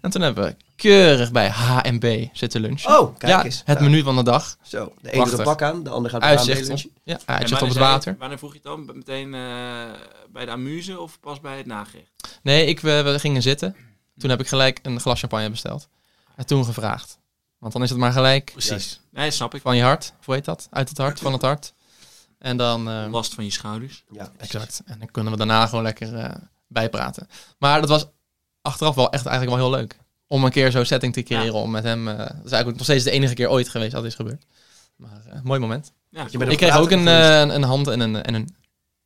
En toen hebben we keurig bij H&B zitten lunchen. Oh, kijk ja, eens. Het Nou, menu van de dag. Zo, de ene doet Prachtig. een pak aan, de ander gaat Uitzicht uitzicht. op, ja, En uitzicht op het wanneer zei- water. Wanneer vroeg je het dan? Meteen eh, bij de amuse of pas bij het nagericht? Nee, ik, we, we gingen zitten. Toen heb ik gelijk een glas champagne besteld. En toen gevraagd. Want dan is het maar gelijk Precies. Nee, snap ik. van je hart. Of Hoe heet dat? Uit het hart, van het hart. En dan... eh, Last van je schouders. Ja, exact. En dan kunnen we daarna gewoon lekker eh, bijpraten. Maar dat was achteraf wel echt eigenlijk wel heel leuk. Om een keer zo'n setting te creëren. Om met hem... eh, dat is eigenlijk ook nog steeds de enige keer ooit geweest dat is gebeurd. Maar eh, mooi moment. Ja, Je bent Ik kreeg praten ook een, gevoeld. eh, een, een hand en een, en een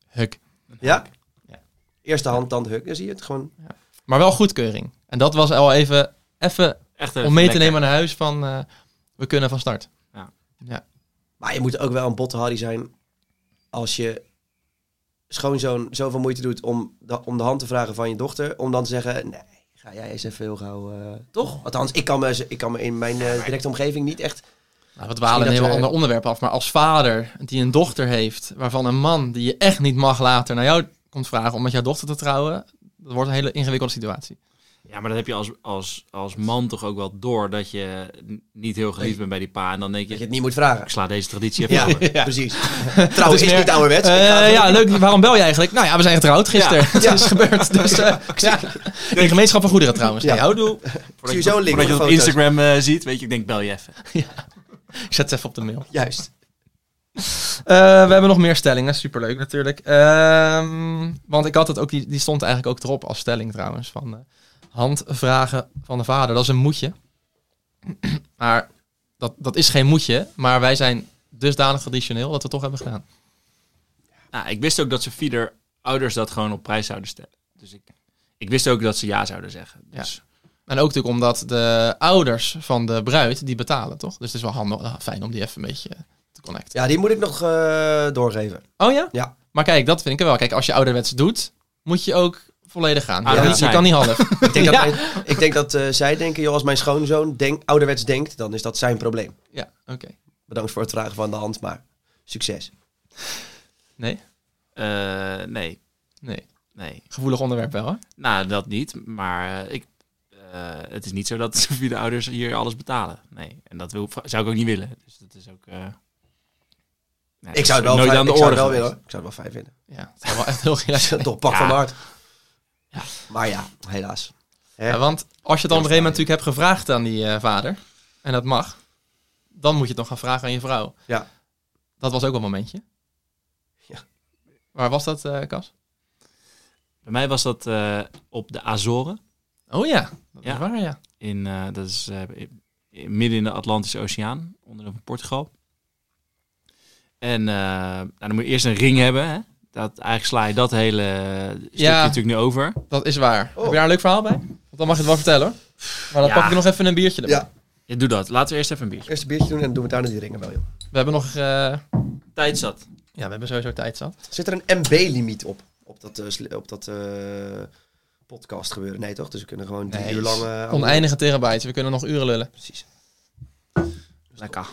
huk. Ja? Ja. Eerste hand, dan de huk. Dan zie je het gewoon. Maar wel goedkeuring. En dat was al even... Even echt eh, om mee te nemen naar huis van eh, we kunnen van start. Maar je moet ook wel een botte harry zijn als je schoonzoon zoveel moeite doet om de, om de hand te vragen van je dochter. Om dan te zeggen, nee, ga jij eens even heel gauw... eh, toch? Althans, ik kan, me, z- ik kan me in mijn eh, directe omgeving niet echt... Nou, we dwalen een dat heel we- ander onderwerp af, maar als vader die een dochter heeft, waarvan een man die je echt niet mag later naar jou komt vragen om met jouw dochter te trouwen, dat wordt een hele ingewikkelde [laughs] situatie. Ja, maar dat heb je als, als, als man toch ook wel door dat je n- niet heel geliefd bent bij die pa. En dan denk Dat je je, het niet moet vragen. ik sla deze [laughs] traditie even Ja, over. Dus precies. Trouwens, Het is, is niet ouderwets. Ik ga Eh, het ja, doen. leuk. Waarom bel je eigenlijk? Nou ja, we zijn getrouwd gisteren. [laughs] Het Ja. is gebeurd. Dus, eh, ja. In gemeenschap van goederen trouwens. Ja. Hey, houdoe. Voordat Zie je zo een link voordat je dat op op foto's. Instagram eh, ziet, weet je, ik denk bel je even. Ik zet het even op de mail. Juist. Eh, we hebben nog meer stellingen. Superleuk natuurlijk. Ehm, want ik had het ook, die, die stond eigenlijk ook erop als stelling trouwens. Van eh, handvragen van de vader. Dat is een moetje. [clears throat] maar dat, dat is geen moetje. Maar wij zijn dusdanig traditioneel dat we het toch hebben gedaan. Nou, ik wist ook dat Sofie er ouders dat gewoon op prijs zouden stellen. Dus ik, ik wist ook dat ze ja zouden zeggen. Dus En ook natuurlijk omdat de ouders van de bruid die betalen, toch? Dus het is wel handig, ah, fijn om die even een beetje eh, te connecten. Ja, die moet ik nog eh, doorgeven. Oh ja? Ja. Maar kijk, dat vind ik er wel. Kijk, als je ouderwets doet, moet je ook volledig gaan. Je kan Ouderwets niet- je zijn. kan niet half. [laughs] Ik denk Ja. dat, mijn- ik denk dat eh, zij denken, joh, als mijn schoonzoon denk, ouderwets denkt, dan is dat zijn probleem. ja, oké. Bedankt voor het vragen van de hand, maar succes. Nee? eh, nee, Nee. nee. Gevoelig onderwerp wel, hè? Nou, dat niet. Maar eh, ik, eh, het is niet zo dat [laughs] via de ouders hier alles betalen. Nee, en dat wil, zou ik ook niet willen. Dus dat is ook... eh, nee, dat Ik is zou het wel, nooit fijn, aan de ik zou orde het wel geweest. willen. hoor. Ik zou het wel fijn vinden. Ja, het zou wel echt heel gek Dat is zijn. toch pak Ja. van mijn hart. Ja. Maar [laughs] ja, helaas. Hè? Ja, want als je het dan op een gegeven moment natuurlijk hebt gevraagd aan die eh, vader, en dat mag, dan moet je het nog gaan vragen aan je vrouw. Ja. Dat was ook wel een momentje. Ja. Waar was dat, eh Kas? Bij mij was dat eh, op de Azoren. Oh ja, dat Ja. is waar, ja. In, eh, dat is eh, in- in- midden in de Atlantische Oceaan, onder Portugal. En eh, nou, dan moet je eerst een ring hebben. Hè? Dat, eigenlijk sla je dat hele stukje Ja. natuurlijk nu over. Dat is waar. Oh. Heb je daar een leuk verhaal bij? Want dan mag je het wel vertellen hoor. Maar dan Ja. pak ik nog even een biertje erbij. Ja. Ja, doe dat. Laten we eerst even een biertje. Eerst een biertje doen en dan doen we daarna die ringen wel, joh. We hebben nog... eh, Tijd zat. ja, we hebben sowieso tijd zat. Zit er een MB-limiet op? Op dat, eh, sli- op dat eh, podcast gebeuren? Nee, toch? Dus we kunnen gewoon drie Nee, uur lang... eh, Oneindige terabytes. We kunnen nog uren lullen. Precies. Lekker.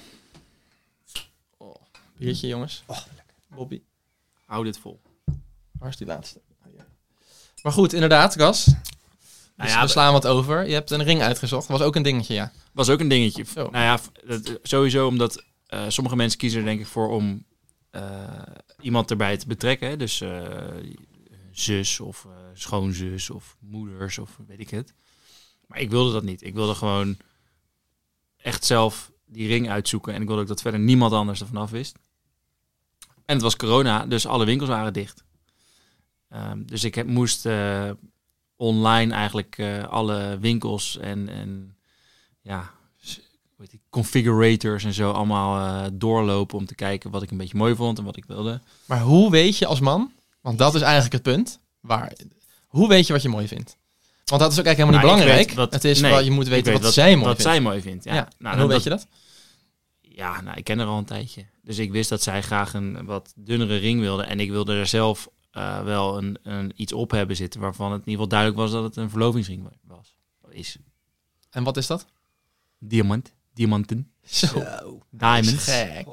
Biertje, jongens. Oh, Bobby, Hou dit vol. waar is die laatste? Oh, ja. Maar goed, inderdaad, Kas. Dus Nou ja, we we- slaan wat over. Je hebt een ring uitgezocht. Dat was ook een dingetje, ja. Was ook een dingetje. Zo. Nou ja, v- dat- sowieso omdat eh, sommige mensen kiezen er denk ik voor om eh, iemand erbij te betrekken. hè. Dus eh, zus of eh, schoonzus of moeders of weet ik het. Maar ik wilde dat niet. Ik wilde gewoon echt zelf die ring uitzoeken. En ik wilde ook dat verder niemand anders ervan af wist. En het was corona, dus alle winkels waren dicht. Ehm, dus ik heb, moest eh, online eigenlijk eh, alle winkels en, en ja, s- hoe heet die, configurators en zo allemaal eh, doorlopen om te kijken wat ik een beetje mooi vond en wat ik wilde. Maar hoe weet je als man, want dat is eigenlijk het punt, waar, hoe weet je wat je mooi vindt? Want dat is ook eigenlijk helemaal niet Maar Nou, belangrijk. ik weet wat- het is nee, wel, je moet Ik weten weet wat, zij mooi wat vindt. zij mooi vindt. Ja. ja. Nou, en dan hoe dat- weet je dat? Ja, nou, ik ken haar al een tijdje. Dus ik wist dat zij graag een wat dunnere ring wilde. En ik wilde er zelf eh, wel een, een iets op hebben zitten waarvan het in ieder geval duidelijk was dat het een verlovingsring was. Is En wat is dat? diamant. Diamanten. Zo, Zo. Diamonds. gek.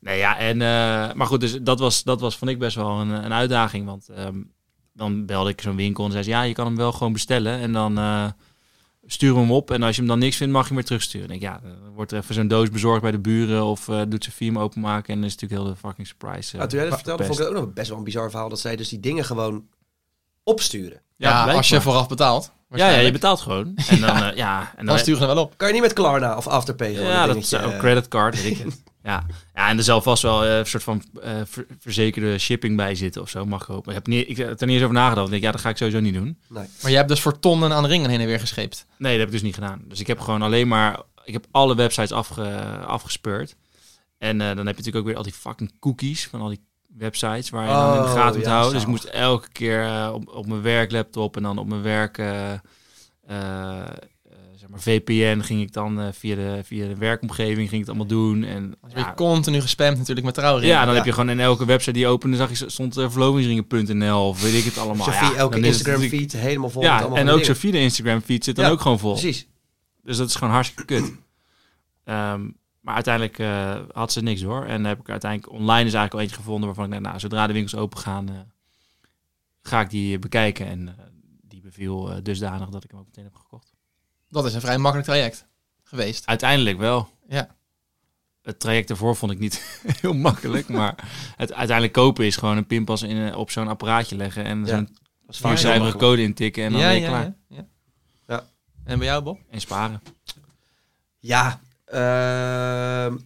Nee, ja, en, eh, maar goed, dus dat was, dat was vond ik best wel een, een uitdaging. Want ehm, dan belde ik zo'n winkel en zei ze, ja, je kan hem wel gewoon bestellen. En dan eh, sturen we hem op. En als je hem dan niks vindt, mag je hem weer terugsturen. En ik, ja, dan wordt er even zo'n doos bezorgd bij de buren. Of eh, doet Sophie hem openmaken. En dan is natuurlijk heel de fucking surprise. eh, Ja, toen jij dat verpest. vertelde, vond ik het ook nog best wel een bizar verhaal... dat zij dus die dingen gewoon opsturen. Ja, blijkbaar. als je vooraf betaalt. ja, ja, je waarschijnlijk, betaalt gewoon. [laughs] En dan, eh, ja, en Dan dan, sturen ze er wel op. Kan je niet met Klarna of Afterpay gewoon Ja, een dat is dingetje, ook eh, creditcard, [laughs] weet ik het. Ja. ja, en er zal vast wel eh, een soort van eh, ver- verzekerde shipping bij zitten of zo, mag ik hopen. Ik heb, niet, ik heb er niet eens over nagedacht. Ik denk, ja, dat ga ik sowieso niet doen. nee. Maar je hebt dus voor tonnen aan ringen heen en weer gescheept. Nee, dat heb ik dus niet gedaan. Dus ik heb gewoon alleen maar... Ik heb alle websites afge, afgespeurd. En eh, dan heb je natuurlijk ook weer al die fucking cookies van al die websites waar je dan in de Oh, gaten moet ja, houden. Dus ik zalig. moest elke keer eh, op, op mijn werklaptop en dan op mijn werk... eh, eh, eh, zeg maar VPN ging ik dan eh, via, de, via de werkomgeving ging ik het allemaal doen. En, Dan word ja, Dus je continu gespamd natuurlijk met trouwringen. ja, dan Ja. heb je gewoon in elke website die je opende, zag je stond eh, verlovingsringen.nl of weet ik het allemaal. Sophie, ja, elke dan is het Instagram natuurlijk- feed helemaal vol met Ja, allemaal en van ook die dingen. Sophie de Instagram feed zit dan Ja, ook gewoon vol. Precies. Dus dat is gewoon hartstikke kut. Ehm, maar uiteindelijk eh, had ze niks hoor. En heb ik uiteindelijk online is eigenlijk al eentje gevonden waarvan ik dacht, nou, zodra de winkels open gaan, eh, ga ik die bekijken. En eh, die beviel eh, dusdanig dat ik hem ook meteen heb gekocht. Dat is een vrij makkelijk traject geweest. Uiteindelijk wel. Ja. Het traject ervoor vond ik niet [laughs] heel makkelijk. Maar het uiteindelijk kopen is gewoon een pinpas in, eh, op zo'n apparaatje leggen en Ja. zo'n Dat is vaak heel viercijferige makkelijk. code intikken en dan ja, ben je ja, klaar. Ja, ja. Ja. En bij jou, Bob? En sparen. Ja, ehm,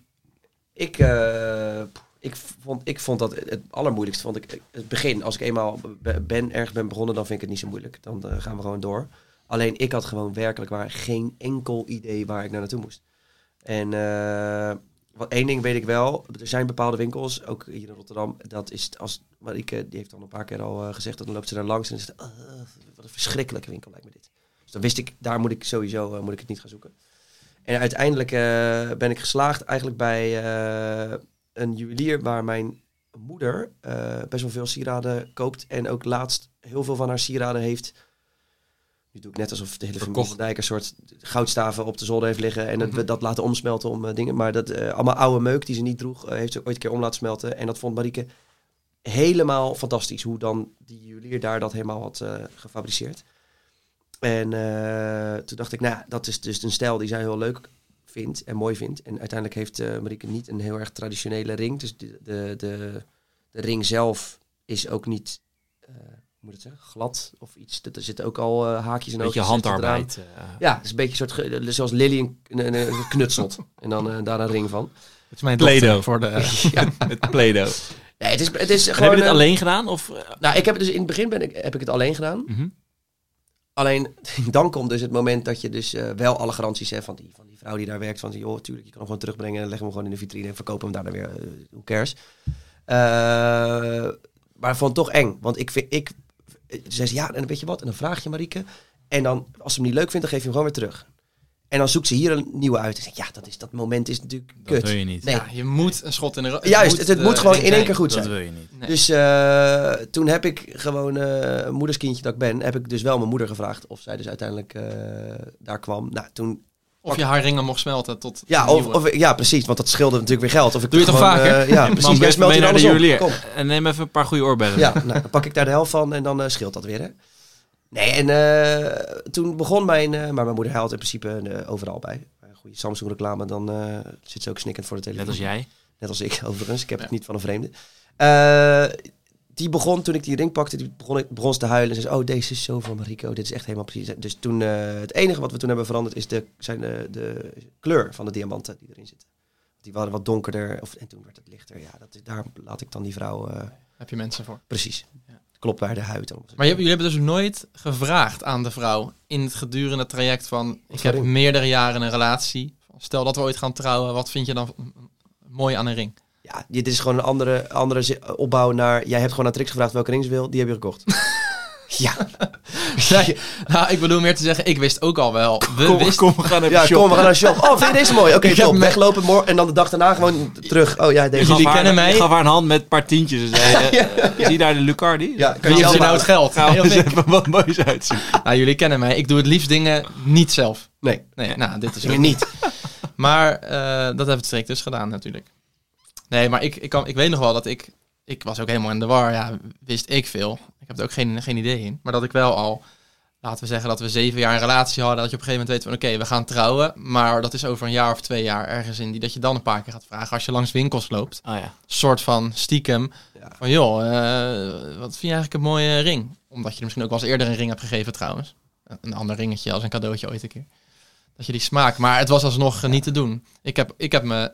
ik, eh, ik, vond, ik vond dat het allermoeilijkste. Vond ik, het begin, als ik eenmaal be- ben, ergens ben begonnen, dan vind ik het niet zo moeilijk. Dan eh, gaan we gewoon door. Alleen ik had gewoon werkelijk waar geen enkel idee waar ik naar naartoe moest. En eh, wat één ding weet ik wel, er zijn bepaalde winkels, ook hier in Rotterdam, dat is het als Marieke, die heeft al een paar keer al eh, gezegd, dat dan loopt ze daar langs en dan zegt, "Ah, wat een verschrikkelijke winkel lijkt me dit. Dus dan wist ik, daar moet ik sowieso eh, moet ik het niet gaan zoeken. En uiteindelijk eh, ben ik geslaagd eigenlijk bij eh, een juwelier waar mijn moeder eh, best wel veel sieraden koopt. En ook laatst heel veel van haar sieraden heeft. Nu doe ik net alsof de hele familie van Dijk een soort goudstaven op de zolder heeft liggen. En dat we dat laten omsmelten om eh, dingen. Maar dat eh, allemaal oude meuk die ze niet droeg, eh, heeft ze ooit een keer om laten smelten. En dat vond Marieke helemaal fantastisch. Hoe dan die juwelier daar dat helemaal had eh, gefabriceerd. En eh, toen dacht ik, nou, dat is dus een stijl die zij heel leuk vindt en mooi vindt. En uiteindelijk heeft eh Marieke niet een heel erg traditionele ring. Dus de, de, de, de ring zelf is ook niet eh, moet ik het zeggen, glad of iets. Dat- Er zitten ook al eh, haakjes en Een beetje oogjes zitten handarbeid. eh, eraan. Ja, het is een beetje een soort, ge- eh, zoals Lily een, een, een- een knutselt [laughs] en dan eh, daar een ring van. Het is mijn Play-Doh. dochter voor [laughs] de... Ja. [laughs] Met Play-Doh. Nee, het is, het is En heb gewoon... je dit eh, alleen gedaan? Of, eh, Nou, ik heb het dus in het begin ben ik, heb ik het alleen gedaan. mhm. Alleen [laughs] dan komt dus het moment dat je dus eh, wel alle garanties hebt van die, van die vrouw die daar werkt. Van die, joh, tuurlijk, je kan hem gewoon terugbrengen en leg hem gewoon in de vitrine en verkoop hem daarna weer. eh, who cares. Eh, maar ik vond het toch eng. Want ik vind, ik, eh, ze zei ze, ja, en weet je wat? En dan vraag je Marieke. En dan, als ze hem niet leuk vindt, dan geef je hem gewoon weer terug. En dan zoekt ze hier een nieuwe uit. Ik zeg, ja, dat, is, dat moment is natuurlijk Dat kut. wil je niet. Nee. Ja, je moet een schot in de... ro- Juist, het, het de- moet gewoon in één zijn. keer goed eh, dat zijn. wil je niet. Nee. Dus eh, toen heb ik gewoon, eh moederskindje dat ik ben, heb ik dus wel mijn moeder gevraagd of zij dus uiteindelijk eh, daar kwam. Nou, toen, Of je haar ringen mocht smelten tot ja, een of, nieuwe. of, ja, precies, want dat scheelde natuurlijk weer geld. Of ik Doe je het gewoon, toch vaker? eh, [laughs] [laughs] ja, Man, precies, jij best smelt mee hier naar de alles op. juwelier. Kom. En neem even een paar goede oorbellen. Ja, nou, dan pak ik daar de helft van en dan eh, scheelt dat weer, hè. Nee, en eh, toen begon mijn... eh, maar mijn moeder huilt in principe eh, overal bij. Bij Een goede Samsung-reclame, dan eh, zit ze ook snikkend voor de televisie. Net als jij. Net als ik [laughs] overigens. Ik heb het Ja. niet van een vreemde. Eh, die begon, toen ik die ring pakte, die begon, ik- begon ze te huilen. Ze zei, oh, deze is zo van Mariko. Dit is echt helemaal precies. Dus toen, eh, het enige wat we toen hebben veranderd is de, zijn de, de kleur van de diamanten die erin zitten. Die waren wat donkerder. Of, en toen werd het lichter. Ja, dat, daar laat ik dan die vrouw eh, heb je mensen voor. precies. Ja. Klopt bij de huid. om- Maar je hebt- jullie hebben dus nooit gevraagd aan de vrouw in het gedurende traject van... Ik voor heb ring? meerdere jaren een relatie. Stel dat we ooit gaan trouwen, wat vind je dan mooi aan een ring? [laughs] [laughs] Ja, dit is gewoon een andere, andere zi- opbouw naar... Jij hebt gewoon aan Trix gevraagd welke ring ze wil. Die heb je gekocht. ja, Nee, nou, ik bedoel meer te zeggen, ik wist ook al wel. We wisten... kom, we gaan even ja shoppen. kom, we gaan naar de shop. Oh, vind je deze mooi? Oké, [laughs] Ik heb top. me- Weglopen morgen en dan de dag daarna gewoon terug. Oh ja, Je deze. gaf Jullie haar- kennen mij. Je gaf haar een hand met een paar tientjes. en zei, eh, Zie je daar de Lucardi? Ja, kan Wie je heeft zelf er nou het geld? houden. Gaan [laughs] Nee, we of [laughs] eens ik? even wat moois uitzoeken. Nou, jullie kennen mij. Ik doe het liefst dingen niet zelf. Nee, Nee, nou, dit is je ook niet. Maar eh, dat heeft Strik dus gedaan natuurlijk. Nee, maar ik, ik, kan, ik weet nog wel dat ik... Ik was ook helemaal in de war. Ja, wist ik veel. Ik heb er ook geen, geen idee in. Maar dat ik wel al... Laten we zeggen dat we zeven jaar een relatie hadden. Dat je op een gegeven moment weet van... Oké, we gaan trouwen. Maar dat is over een jaar of twee jaar ergens in die... Dat je dan een paar keer gaat vragen als je langs winkels loopt. Oh ja. soort van stiekem. Ja. Van joh, eh, wat vind je eigenlijk een mooie ring? Omdat je er misschien ook wel eens eerder een ring hebt gegeven trouwens. Een- Een ander ringetje als een cadeautje ooit een keer. Dat je die smaak. Maar het was alsnog eh, niet te doen. Ik heb, ik heb me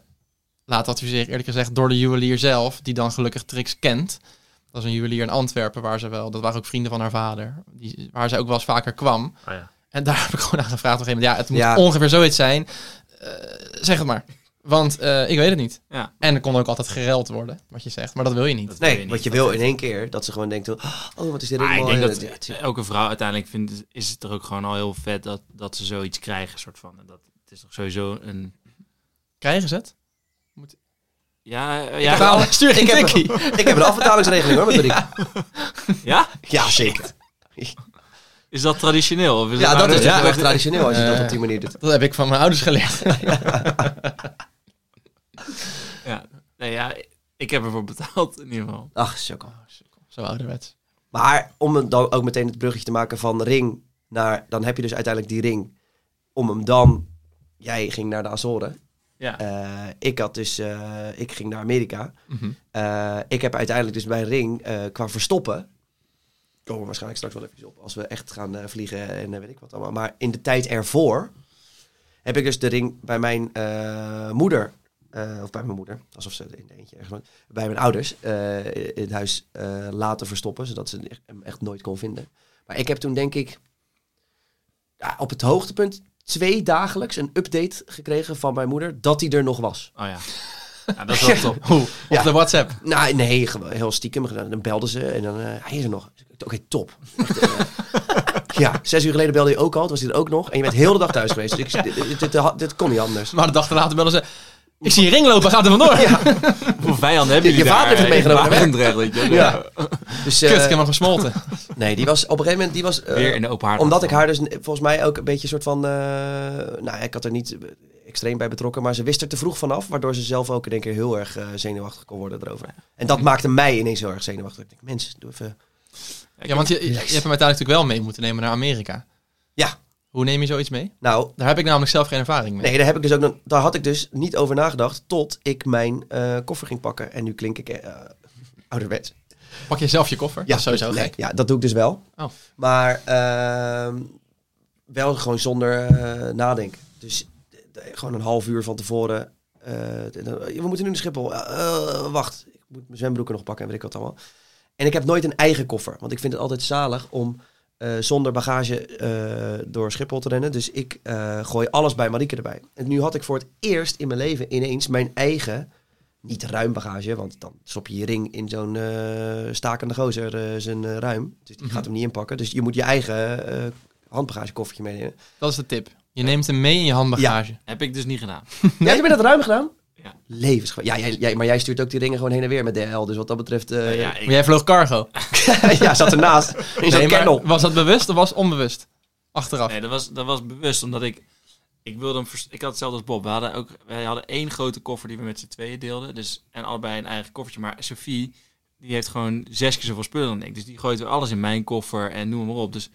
laten adviseren, eerlijk gezegd, door de juwelier zelf. Die dan gelukkig Trix kent. Dat is een juwelier in Antwerpen waar ze wel... Dat waren ook vrienden van haar vader. Die, waar zij ook wel eens vaker kwam. Oh ja. En daar [laughs] heb ik gewoon aan gevraagd op een gegeven moment. Ja, het moet Ja. ongeveer zoiets zijn. Eh, zeg het maar. Want eh, ik weet het niet. Ja. En er kon ook altijd gereld worden, wat je zegt. Maar dat wil je niet. Dat wil Nee, niet. wat je wil in één keer, dat ze gewoon denkt, oh, wat is dit Maar helemaal... Ah, ik denk dat Ja, tuurlijk. elke vrouw uiteindelijk vindt, is het er ook gewoon al heel vet dat, dat ze zoiets krijgen. Soort van. En Dat, het is toch sowieso een... Krijgen ze [laughs] het? Ja, eh, Ja, ja, Taal, stuur geen Nou, ik heb- tikkie. Ik heb een afbetalingsregeling hoor, met Marieke. Ja, ja? zeker. Is dat traditioneel? Of is Ja, dat nou- is ja. heel erg traditioneel als je dat Eh. op die manier doet. [laughs] Dat heb ik van mijn ouders [laughs] geleerd. Ja. Nee, ja, ik heb ervoor betaald in ieder geval. Ach, sukkel. Zo ouderwets. Maar om het dan ook meteen het bruggetje te maken van ring naar... Dan heb je dus uiteindelijk die ring. Om hem dan... Jij ging naar de Azoren. Ja. Eh, ik had dus... eh, ik ging naar Amerika. Mhm. Eh, ik heb uiteindelijk dus mijn ring eh, qua verstoppen. Komen we waarschijnlijk straks wel even op als we echt gaan eh, vliegen en eh, weet ik wat allemaal. Maar in de tijd ervoor heb ik dus de ring bij mijn eh, moeder. eh, of bij mijn moeder, alsof ze er in de eentje ergens. woont, Bij mijn ouders eh, in het huis eh, laten verstoppen, zodat ze hem echt nooit kon vinden. Maar ik heb toen denk ik ja, op het hoogtepunt twee dagelijks een update gekregen van mijn moeder dat hij er nog was. Oh ja. ja dat is wel top. Hoe? Op [laughs] Ja. de WhatsApp. Nou, nee, gewoon heel stiekem. Dan belden ze en dan, eh, hij is er nog. Oké, top. [laughs] Echt, eh, ja, zes uur geleden belde je ook al, toen was hij er ook nog. En je bent heel de dag thuis geweest. Dus ik, dit, dit, dit- dit kon niet anders. Maar de dag later bellen ze... Ik zie een ring lopen, gaat er vandoor. Ja, [laughs] Hoeveel vijanden hebben Je jullie daar? vader heeft het meegenomen naar werk. Barendrecht, weet je wel. Ja. dus eh, Kut, ik heb hem gesmolten. nee, die was op een gegeven moment, die was, eh, Weer in de open haard. omdat ik haar dus n- volgens mij ook een beetje soort van, eh, nou, ik had er niet eh, extreem bij betrokken, maar ze wist er te vroeg vanaf, waardoor ze zelf ook in één keer heel erg eh, zenuwachtig kon worden erover. En dat maakte mij ineens heel erg zenuwachtig. Ik denk, mensen, doe even. Ja, want je, je hebt hem uiteindelijk natuurlijk wel mee moeten nemen naar Amerika. Ja. Hoe neem je zoiets mee? Nou, Daar heb ik namelijk zelf geen ervaring mee. Nee, daar, heb ik dus ook, nog- daar had ik dus niet over nagedacht tot ik mijn eh, koffer ging pakken. En nu klink ik eh, ouderwets. Pak je zelf je koffer? dat is sowieso nee, gek. Ja, dat doe ik dus wel. Oh. Maar ehm, wel gewoon zonder eh, nadenken. Dus eh, gewoon een half uur van tevoren. eh, we moeten nu naar Schiphol. Eh, eh, wacht, ik moet mijn zwembroeken nog pakken en weet ik wat allemaal. En ik heb nooit een eigen koffer. Want ik vind het altijd zalig om eh, zonder bagage eh, door Schiphol te rennen. Dus ik eh, gooi alles bij Marieke erbij. En nu had ik voor het eerst in mijn leven ineens mijn eigen niet ruim bagage, want dan stop je je ring in zo'n eh, stakende gozer eh, zijn eh, ruim. Dus die gaat hem niet inpakken. Dus je moet je eigen eh handbagagekoffertje meenemen. Dat is de tip. Je neemt hem mee in je handbagage. Heb ik dus niet gedaan. Nee? Ja, je bent dat ruim gedaan? Ja. Levensgevaar. Ja, jij, jij, maar jij stuurt ook die ringen gewoon heen en weer met DHL. Dus wat dat betreft... eh, ja, ik, Maar jij vloog cargo. [laughs] ja, zat ernaast. In zo'n Nee, maar kennel. was dat bewust of was het onbewust? Achteraf. Nee, dat was, dat was bewust, omdat ik... Ik, wilde hem vers- ik had hetzelfde als Bob. We hadden, ook, wij hadden één grote koffer die we met z'n tweeën deelden. Dus, en allebei een eigen koffertje. Maar Sophie, die heeft gewoon zes keer zoveel spullen dan ik. Dus die gooit weer alles in mijn koffer en noem maar op. Dus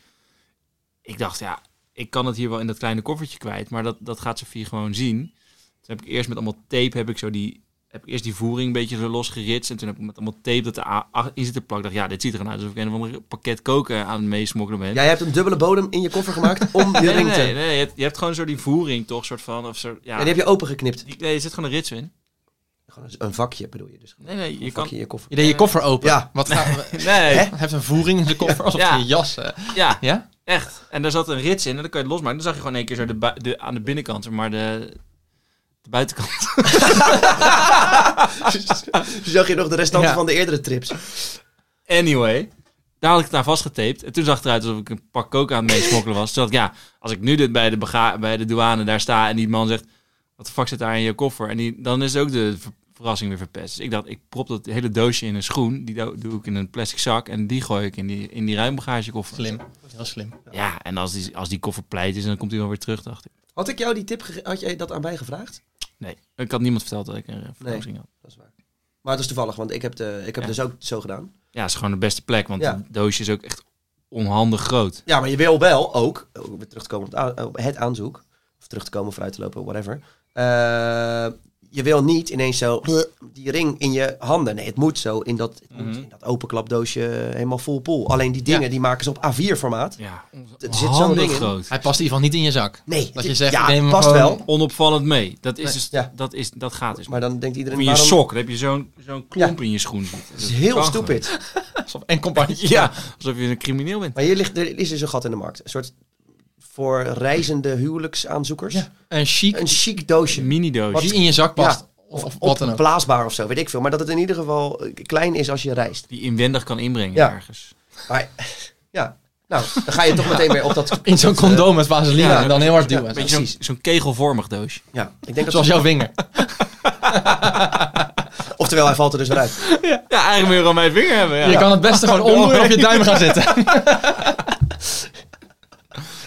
ik dacht, ja, ik kan het hier wel in dat kleine koffertje kwijt. Maar dat, dat gaat Sophie gewoon zien. Toen heb ik eerst met allemaal tape, heb ik zo die... Heb ik eerst die voering een beetje zo losgeritst. En toen heb ik met allemaal tape dat er a- a- in zit te plakken. Ik dacht, ja, dit ziet er gewoon uit alsof ik een of ander pakket koken aan het meesmokkelen ben. Jij hebt een dubbele bodem in je koffer gemaakt om je Nee, nee, ring te... nee, nee, Je, hebt, je hebt gewoon zo die voering toch, soort van. Of zo, ja. En die heb je opengeknipt. Die- nee, er zit gewoon een rits in. Gewoon een vakje bedoel je dus. Nee, nee, Een je kan. [laughs] vakje in je koffer. Je deed je koffer open. Ja. Wat gaan we... Nee, Hij heeft een voering in zijn koffer, alsof Ja. hij je jas... eh, ja, ja? echt. En daar zat een rits in en dan kan je het losmaken. Dan zag je gewoon één keer zo de, bui- de, aan de binnenkant, zeg maar de, de buitenkant. [laughs] Zag je nog de restanten Ja. van de eerdere trips? Anyway, daar had ik het aan vastgetaped. En toen zag het eruit alsof ik een pak coke aan het meesmokkelen was. Toen dacht ik, ja, als ik nu dit bij de, bega- bij de douane daar sta en die man zegt... Wat de fuck zit daar in je koffer? En die, dan is ook de ver- verrassing weer verpest. Dus ik dacht, ik prop dat hele doosje in een schoen. Die do- doe ik in een plastic zak en die gooi ik in die, in die ruimbagagekoffer. Slim. Heel slim. Ja, en als die, als die koffer pleit is, dan komt hij wel weer terug, dacht ik. Had ik jou die tip... gege- Had jij dat aan mij gevraagd? Nee, ik had niemand verteld dat ik een eh, verrassing had. Dat is waar. Maar het is toevallig, want ik heb, de, ik heb Ja. dus ook zo gedaan. Ja, het is gewoon de beste plek, want Ja. het doosje is ook echt onhandig groot. Ja, maar je wil wel ook, om weer terug te komen op het, aan- op het aanzoek, of terug te komen, vooruit te lopen, whatever. Eh, je wil niet ineens zo [clears throat] die ring in je handen. Nee, het moet zo in dat, het moet Mhm. in dat openklapdoosje helemaal full pool. Alleen die dingen, Ja. die maken ze op A4 formaat. Ja, zit zo'n onhandig ding in. groot. Hij past in ieder geval niet in je zak. Nee, Dat het- je zegt, ik neem ja, hem past gewoon- wel. onopvallend mee. Dat is, Nee, dus, ja. dat is dat gaat dus. Maar dan denkt Of iedereen, in je waarom- sok, dan heb je zo'n zo'n klomp in je schoen zitten. Het is heel kan stupid. [laughs] Alsof- En compagnie. gewoon. [laughs] Ja, alsof je een crimineel bent. Maar hier ligt, er is dus een gat in de markt. Een soort voor reizende huwelijksaanzoekers. Een chic Een chic doosje. Een mini doosje die in je zak past. Ja. Of, of wat dan ook. opblaasbaar of zo, weet ik veel. Maar dat het in ieder geval eh, klein is als je reist. die je inwendig kan inbrengen Ja. ergens. Maar ja, nou, dan ga je toch meteen weer op dat... [laughs] In zo'n condoom met vaseline ja, en dan heel hard ja, duwen. Beetje zo'n precies. zo'n kegelvormig doosje. Ja, ik denk dat... Zoals jouw vinger. Oftewel, hij valt er dus weer uit. Ja, eigenlijk moet je gewoon mijn vinger hebben. Ja. Je kan het beste gewoon onder en op je duim gaan zitten.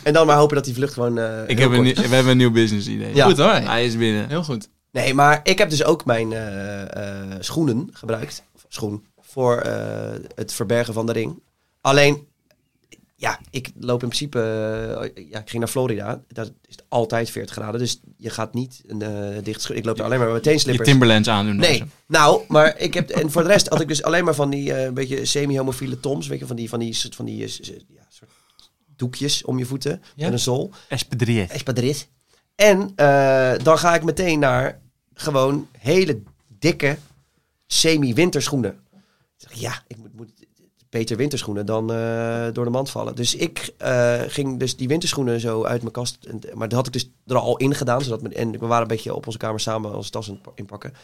En dan maar hopen dat die vlucht gewoon... eh, Ik heel heb een, kort- nieuw- we hebben een nieuw business idee. Ja. Goed hoor. Hij is binnen. Heel goed. Nee, maar ik heb dus ook mijn eh, eh, schoenen gebruikt. Of Schoen. Voor eh, het verbergen van de ring. Alleen, ja, ik loop in principe... eh, ja, ik ging naar Florida. Daar is het altijd 40 graden. Dus je gaat niet een eh, dicht schoen... Ik loop daar alleen maar met meteen Je slippers. Timberlands aandoen. Nee, ofzo. nou, maar ik heb... En voor de rest had ik dus alleen maar van die eh, een beetje semi-homofiele toms. Weet je, van die, van die, soort- van die eh, s- s- ja, soort doekjes om je voeten. Ja. En een zool. Espadrilles. Espadrilles. En eh, dan ga ik meteen naar gewoon hele dikke semi-winterschoenen. Ik zeg, Ja, ik moet, moet beter winterschoenen dan eh, door de mand vallen. Dus ik eh, ging dus die winterschoenen zo uit mijn kast. En, maar dat had ik dus er al in gedaan. Zodat mijn- en we waren een beetje op onze kamer samen onze tas aan het pa- inpakken.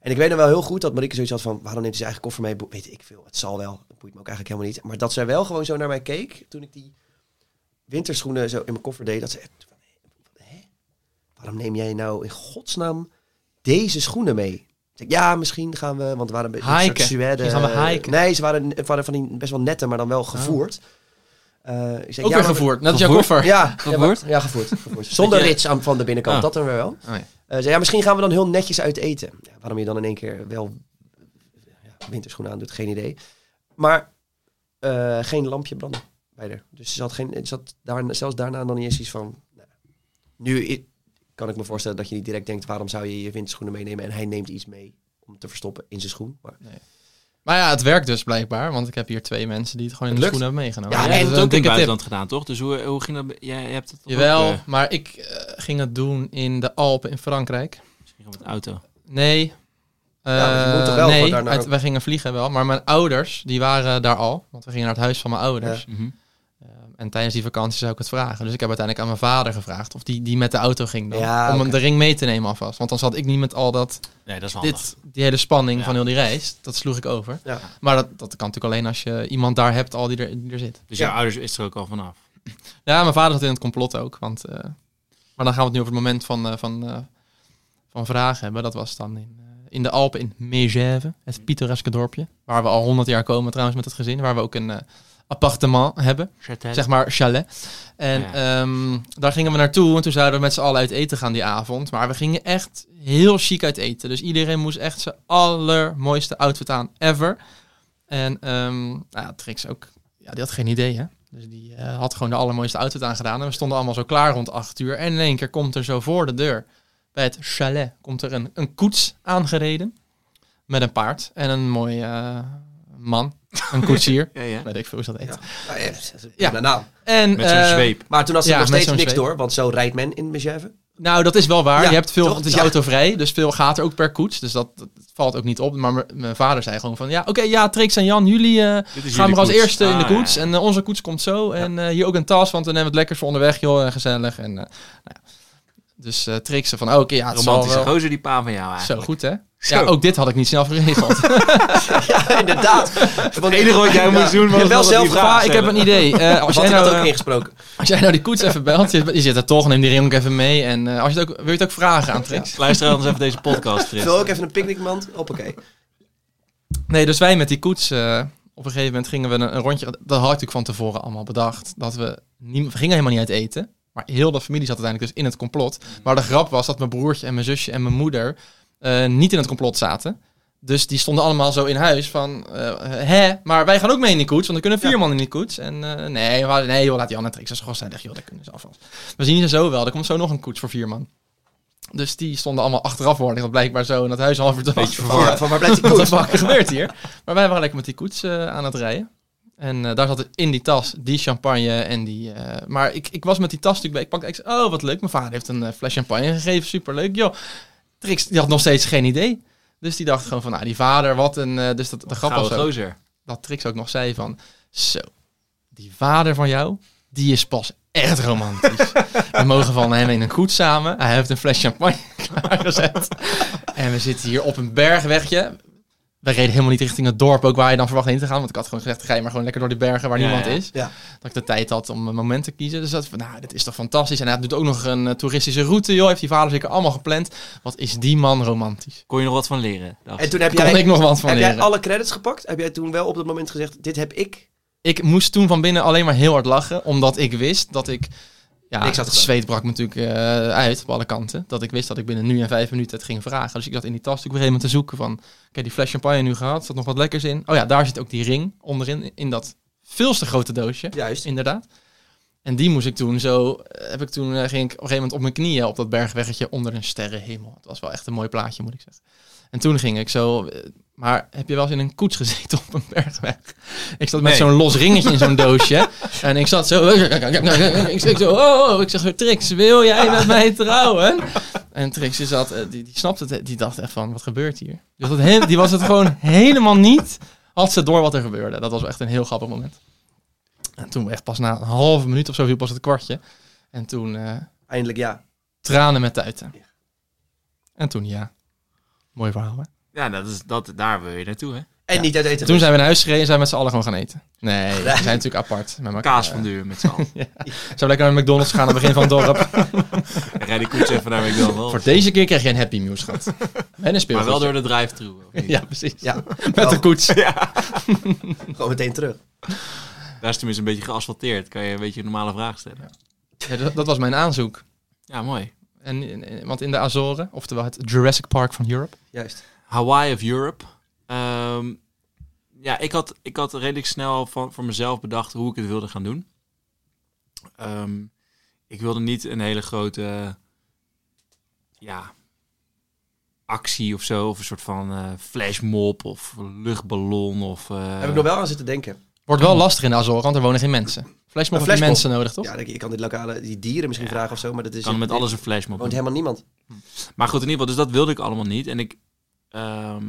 En ik weet nog wel heel goed dat Marieke zoiets had van... waarom neemt hij zijn eigen koffer mee? Bo- Weet ik veel, het zal wel. Dat boeit me ook eigenlijk helemaal niet. Maar dat zij wel gewoon zo naar mij keek toen ik die winterschoenen zo in mijn koffer deed. Dat ze echt van, hè? Waarom neem jij nou in godsnaam deze schoenen mee? Ik zeg, ja, misschien gaan we... Want we waren een beetje een soort Hiken. suède... Misschien gaan we hiken. Oh. Nee, ze waren, het waren van die best wel nette, maar dan wel gevoerd. Eh, ik zeg, Ook ja, weer maar- gevoerd. Net als jouw Gevoerd? koffer. Ja, Gevoerd? Ja, [laughs] gevoerd. gevoerd. Zonder Ja. rits aan, van de binnenkant, Ah. dat dan weer wel. ja. Eh, zei, ja, misschien gaan we dan heel netjes uit eten. Ja, waarom je dan in één keer wel ja, winterschoenen aan doet, geen idee. Maar eh, geen lampje branden bij haar. Dus ze had, geen, ze had daar, zelfs daarna dan niet eens iets van... nou, nu i- kan ik me voorstellen dat je niet direct denkt... waarom zou je je winterschoenen meenemen? En hij neemt iets mee om te verstoppen in zijn schoen. Maar, Nee. Maar ja, het werkt dus blijkbaar, want ik heb hier twee mensen die het gewoon in Het de schoenen hebben meegenomen. Ja, Dus jij hebt dat het is ook in het dikke tip. buitenland gedaan, toch? Dus hoe, hoe ging dat? Jij hebt het toch Jawel, ook, eh, maar ik eh, ging het doen in de Alpen in Frankrijk. misschien gewoon met de auto. Mhm. Nee. Ja, dus je moet toch Eh, wel gewoon nee, daarna uit- ook- wij gingen vliegen wel, maar mijn ouders die waren daar al, want we gingen naar het huis van mijn ouders. Mhm. Ehm, en tijdens die vakantie zou ik het vragen. Dus ik heb uiteindelijk aan mijn vader gevraagd of die, die met de auto ging dan, Ja, om hem oké. de ring mee te nemen alvast. Want dan zat ik niet met al dat, Nee, dat is wel handig. dit, die hele spanning Ja. van heel die reis, dat sloeg ik over. Ja. Maar dat, dat kan natuurlijk alleen als je iemand daar hebt al die er, die er zit. Dus Ja. jouw ouders is er ook al vanaf. Ja, mijn vader zat in het complot ook. Want, eh, maar dan gaan we het nu over het moment van, eh, van, eh, van vragen hebben. Dat was dan in, eh, in de Alpen in Megève, het pittoreske dorpje. Waar we al honderd jaar komen trouwens met het gezin. Waar we ook een eh, appartement hebben. Zeg maar chalet. En Ja. ehm, daar gingen we naartoe. En toen zouden we met z'n allen uit eten gaan die avond. Maar we gingen echt heel chic uit eten. Dus iedereen moest echt zijn allermooiste outfit aan ever. En ehm nou, ja, Trix ook. Ja, die had geen idee, hè? Dus die eh, had gewoon de allermooiste outfit aangedaan. En we stonden allemaal zo klaar rond acht uur. En in één keer komt er zo voor de deur bij het chalet komt er een, een koets aangereden. Met een paard en een mooi eh, man. Een koetsier. Ja, ja. Weet ik veel hoe ze dat heet. Ja. Ah, Nou, ja, dat is een Ja. prima naam. En, Met zo'n eh, zweep. Maar toen had ze Ja, nog met steeds zo'n niks zweep. door, want zo rijdt men in Megève. Nou, dat is wel waar. Ja, je hebt veel, toch? het is Ja. autovrij, dus veel gaat er ook per koets. Dus dat, dat valt ook niet op. Maar m- mijn vader zei gewoon van, ja, oké, ja, Trix en Jan, jullie eh, Dit is gaan jullie maar als koets. eerste in de Ah, ja, koets. ja. En eh, onze koets komt zo. En eh, hier ook een tas, want dan hebben we het lekkers voor onderweg, joh, en gezellig. En, eh, nou, ja. Dus eh Trix zei van, oké, ja, het zal Romantische wel. gozer, die pa van jou Zo, eigenlijk. goed hè? Zo. Ja, ook dit had ik niet snel [laughs] geregeld. Ja, inderdaad. [laughs] Het enige wat jij moest doen was wel dat zelf die vraag Maar ik heb stellen. een idee. Eh, [laughs] als, Wat jij ik nou, had ook eh, ingesproken. als jij nou die koets even belt, je, je zit er toch, neem die ring ook even mee. En eh, als je het ook, wil je het ook vragen aan Trix? Luister anders even deze podcast, Frits. Vul ook even een picknickmand. Hoppakee. Nee, dus wij met die koets. eh, op een gegeven moment gingen we een, een rondje. Dat had ik natuurlijk van tevoren allemaal bedacht. Dat we, niet, we gingen helemaal niet uit eten. Maar heel de familie zat uiteindelijk dus in het complot. Maar de grap was dat mijn broertje en mijn zusje en mijn moeder eh, niet in het complot zaten. Dus die stonden allemaal zo in huis van, eh, hè, maar wij gaan ook mee in die koets, want er kunnen vier man in die koets. En eh, nee, maar, nee joh, laat die andere tricks als gast zijn. Ik dacht, joh, dat kunnen ze alvast. We zien ze zo wel, er komt zo nog een koets voor vier man. Dus die stonden allemaal achteraf worden, dat blijkbaar zo in dat huis half uur te wachten. Van, waar- van waar [laughs] blijft die Wat de koets? fuck gebeurt hier? Maar wij waren lekker met die koets eh, aan het rijden. En eh, daar zat dus in die tas die champagne en die... eh, maar ik, ik was met die tas natuurlijk bij. Ik pakte, ik zei, oh wat leuk, mijn vader heeft een eh, fles champagne gegeven. Superleuk, joh. Trix, die had nog steeds geen idee. Dus die dacht gewoon van, nou die vader, wat een... eh, dus dat, de grap was Gouden ook, gozer. dat Trix ook nog zei van... Zo, die vader van jou, die is pas echt romantisch. we mogen van hem in een koets samen. Hij heeft een fles champagne [laughs] klaargezet. en we zitten hier op een bergwegje. We reden helemaal niet richting het dorp, ook waar je dan verwacht heen te gaan. Want ik had gewoon gezegd, ga je maar gewoon lekker door die bergen waar Ja, niemand ja. is. Ja. Dat ik de tijd had om een moment te kiezen. Dus dat van, nou, dit is toch fantastisch. En hij doet ook nog een eh, toeristische route, joh. Heeft die vader zeker allemaal gepland. Wat is die man romantisch. Kon je nog wat van leren? dacht En ik. toen heb Kon jij, ik nog wat van heb leren. jij alle credits gepakt? Heb jij toen wel op dat moment gezegd, dit heb ik? ik moest toen van binnen alleen maar heel hard lachen, omdat ik wist dat ik... Ja, Niks had het gedaan. zweet brak me natuurlijk eh, uit op alle kanten. Dat ik wist dat ik binnen nu en vijf minuten het ging vragen. Dus ik zat in die tas natuurlijk op een gegeven moment te zoeken van... Oké, die fles champagne nu gehad, zat nog wat lekkers in. Oh ja, daar zit ook die ring onderin, in dat veel te grote doosje. Juist. Inderdaad. En die moest ik toen zo... eh, Heb ik toen, eh, ging ik op een gegeven moment op mijn knieën op dat bergweggetje onder een sterrenhemel. Het was wel echt een mooi plaatje, moet ik zeggen. En toen ging ik zo... eh, Maar heb je wel eens in een koets gezeten op een bergweg? Ik zat met Nee. zo'n los ringetje in zo'n doosje. En ik zat zo... Ik zeg zo... Oh, ik zeg zo... Trix, wil jij met mij trouwen? En Trix die zat... eh, Die, die snapte het. Die dacht echt van... Wat gebeurt hier? Dus dat he- die was het gewoon helemaal niet... Had ze door wat er gebeurde. Dat was wel echt een heel grappig moment. En toen echt pas na een halve minuut of zo viel pas het kwartje. En toen eh, Eindelijk ja. tranen met tuiten. En toen ja. Mooi verhaal, hè? Ja, dat is, dat, daar wil je naartoe, hè? En niet uit eten. Toen zijn we naar huis gereden en zijn we met z'n allen gewoon gaan eten. Nee, we zijn natuurlijk apart. Met elkaar. Kaas van duur met z'n [laughs] allen. Zijn we lekker naar McDonald's gaan aan het begin van het dorp. Dan Rijd de koets even naar McDonald's. Voor deze keer krijg je een Happy Meal, schat. En een Maar wel speelgoedje. door de drive-thru. of niet? Ja, precies. Ja, Met de koets. gewoon meteen terug. Daar is tenminste een beetje geasfalteerd. Kan je een beetje een normale vraag stellen. Ja, dat, dat was mijn aanzoek. Ja, mooi. En, en- en- want in de Azoren, oftewel het Jurassic Park van Europe. Juist. Hawaii of Europe. Ehm, ja, ik had, ik had redelijk snel van, voor mezelf bedacht hoe ik het wilde gaan doen. Ehm, ik wilde niet een hele grote ja, actie of zo. Of een soort van eh, flashmob of luchtballon. Of, eh, Heb ik nog wel aan zitten denken. Wordt wel lastig in de Azoren, want er wonen geen mensen. Flashmob Een heeft die flashmob. mensen nodig, toch? Ja, ik, ik kan dit lokale, die dieren misschien Ja. vragen of zo, maar dat is... kan er met er alles een flashmob woont doen. helemaal niemand. Maar goed, in ieder geval, dus dat wilde ik allemaal niet. En ik ehm,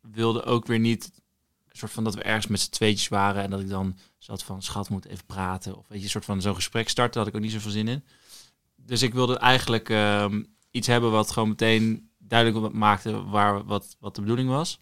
wilde ook weer niet een soort van dat we ergens met z'n tweetjes waren en dat ik dan zat van schat moet even praten of weet je, een soort van zo'n gesprek starten, daar had ik ook niet zoveel zin in. Dus ik wilde eigenlijk ehm, iets hebben wat gewoon meteen duidelijk wat maakte waar wat, wat de bedoeling was.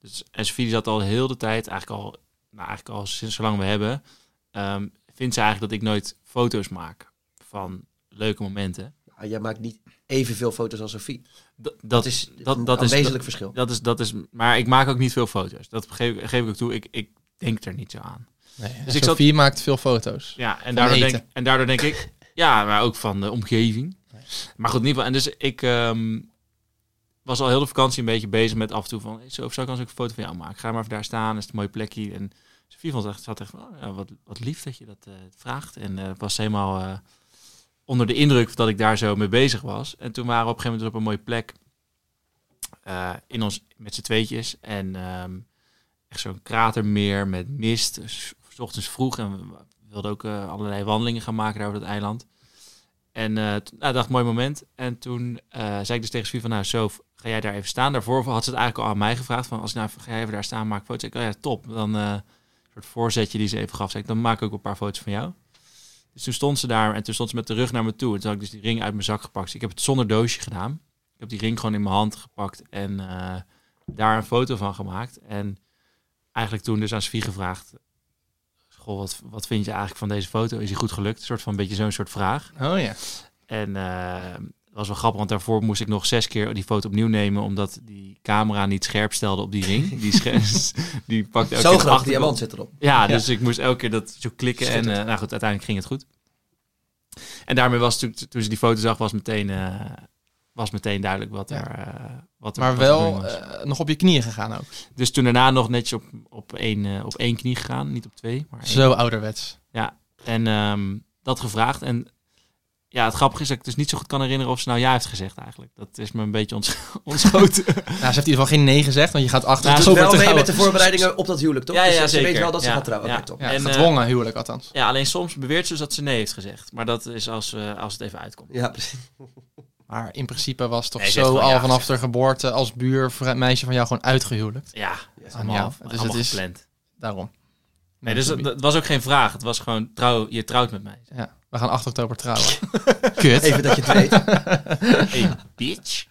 Dus en Sophie die zat al heel de tijd, eigenlijk al, nou, eigenlijk al sinds zolang we hebben, ehm, vindt ze eigenlijk dat ik nooit foto's maak van leuke momenten. Ja, jij maakt niet evenveel foto's als Sophie. D- dat, Dat is dat, een dat is aanwezelijk dat, verschil. dat is dat is maar ik maak ook niet veel foto's dat geef, geef ik ook toe ik, ik denk er niet zo aan Nee, Dus dus ik Sophie maakt veel foto's. ja en daardoor denk eten. en daardoor denk ik ja maar ook van de omgeving maar goed in ieder geval en dus ik ehm, was al heel de vakantie een beetje bezig met af en toe van hey, zo of zou ik eens ook een foto van jou maken ga maar even daar staan is het een mooi plekje en Sofie vond het echt, zat echt van, oh, ja, wat, wat lief dat je dat eh, vraagt. En eh, was helemaal eh, onder de indruk dat ik daar zo mee bezig was. En toen waren we op een gegeven moment dus op een mooie plek eh, in ons, met z'n tweetjes. En ehm, echt zo'n kratermeer met mist, s s ochtends vroeg. En we wilden ook eh, allerlei wandelingen gaan maken daar over het eiland. En eh toen- nou, dacht, mooi moment. En toen eh, zei ik dus tegen Sofie van, nou Sof, ga jij daar even staan? Daarvoor had ze het eigenlijk al aan mij gevraagd. Van, als ik nou, even- ga jij even daar staan, maak foto's. Ik, oh ja, top. Dan... eh, soort voorzetje die ze even gaf. Zei ik, dan maak ik ook een paar foto's van jou. Dus toen stond ze daar en toen stond ze met de rug naar me toe. En toen had ik dus die ring uit mijn zak gepakt. Dus ik heb het zonder doosje gedaan. Ik heb die ring gewoon in mijn hand gepakt en eh, daar een foto van gemaakt. En eigenlijk toen dus aan Sofie gevraagd... Goh, wat, wat vind je eigenlijk van deze foto? Is die goed gelukt? Een soort van een beetje zo'n soort vraag. Oh ja. En eh, dat was wel grappig, want daarvoor moest ik nog zes keer die foto opnieuw nemen, omdat die camera niet scherp stelde op die ring. Die, scherp, [laughs] die pakte elke keer de Zo graag, achterkant. diamant zit erop. Ja, Ja. dus ik moest elke keer dat zo klikken. En eh, nou goed, uiteindelijk ging het goed. En daarmee was toen, toen ze die foto zag, was meteen, eh, was meteen duidelijk wat Ja. er. eh, wat er Maar wat er gebeurd wel was. eh, nog op je knieën gegaan ook. dus toen daarna nog netjes op, op, één, eh, op één knie gegaan, niet op twee. Maar één. Zo ouderwets. En ehm, dat gevraagd. En ja, het grappige is dat ik dus niet zo goed kan herinneren of ze nou ja heeft gezegd eigenlijk. Dat is me een beetje ons, [laughs] ontschoten. Nou, ze heeft in ieder geval geen nee gezegd, want je gaat achter Nou, het ze Doet over Dus wel te mee met houden. de voorbereidingen op dat huwelijk, toch? Ja, Dus ja, ze weet zeker. wel dat ze Ja. gaat trouwen. Ja. Oké, top. Ja, En, eh, gedwongen huwelijk althans. Ja, alleen soms beweert ze dus dat ze nee heeft gezegd. Maar dat is als, eh, als het even uitkomt. Ja, precies. Maar in principe was toch Nee, ze heeft zo gewoon al ja vanaf de geboorte als buurmeisje van jou gewoon uitgehuwelijk. Ja, Ja. Aan allemaal, jou. Dus allemaal het is- gepland. Daarom. Nee, dus dat, dat was ook geen vraag. Het was gewoon, trouw, je trouwt met mij. Ja, we gaan 8 oktober trouwen. Kut. Even dat je het weet. Hey, bitch.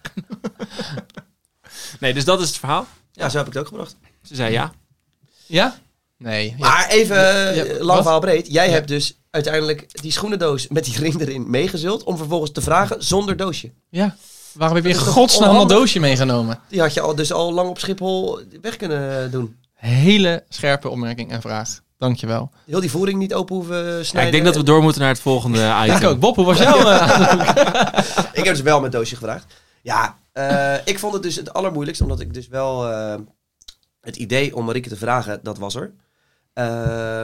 [laughs] nee, dus dat is het verhaal. Ja, zo heb ik het ook gebracht. Ze zei ja. Ja? Nee. ja. Maar even eh, Ja, lang wat? verhaal breed. Jij Ja. hebt dus uiteindelijk die schoenendoos met die ring erin meegezult. Om vervolgens te vragen zonder doosje. Ja. Waarom heb je in Dat is toch godsnaam dat onhandig? doosje meegenomen? Die had je al, dus al lang op Schiphol weg kunnen eh, doen. Hele scherpe opmerking en vraag. Dankjewel. Heel die voering niet open hoeven ja. snijden. Ik denk dat we door moeten naar het volgende Ja, ik item. ook. Bob, hoe was jouw... eh, Ik heb dus wel met doosje gevraagd. Ja, eh, ik vond het dus het allermoeilijkst, omdat ik dus wel eh, het idee om Marieke te vragen, dat was er. Eh,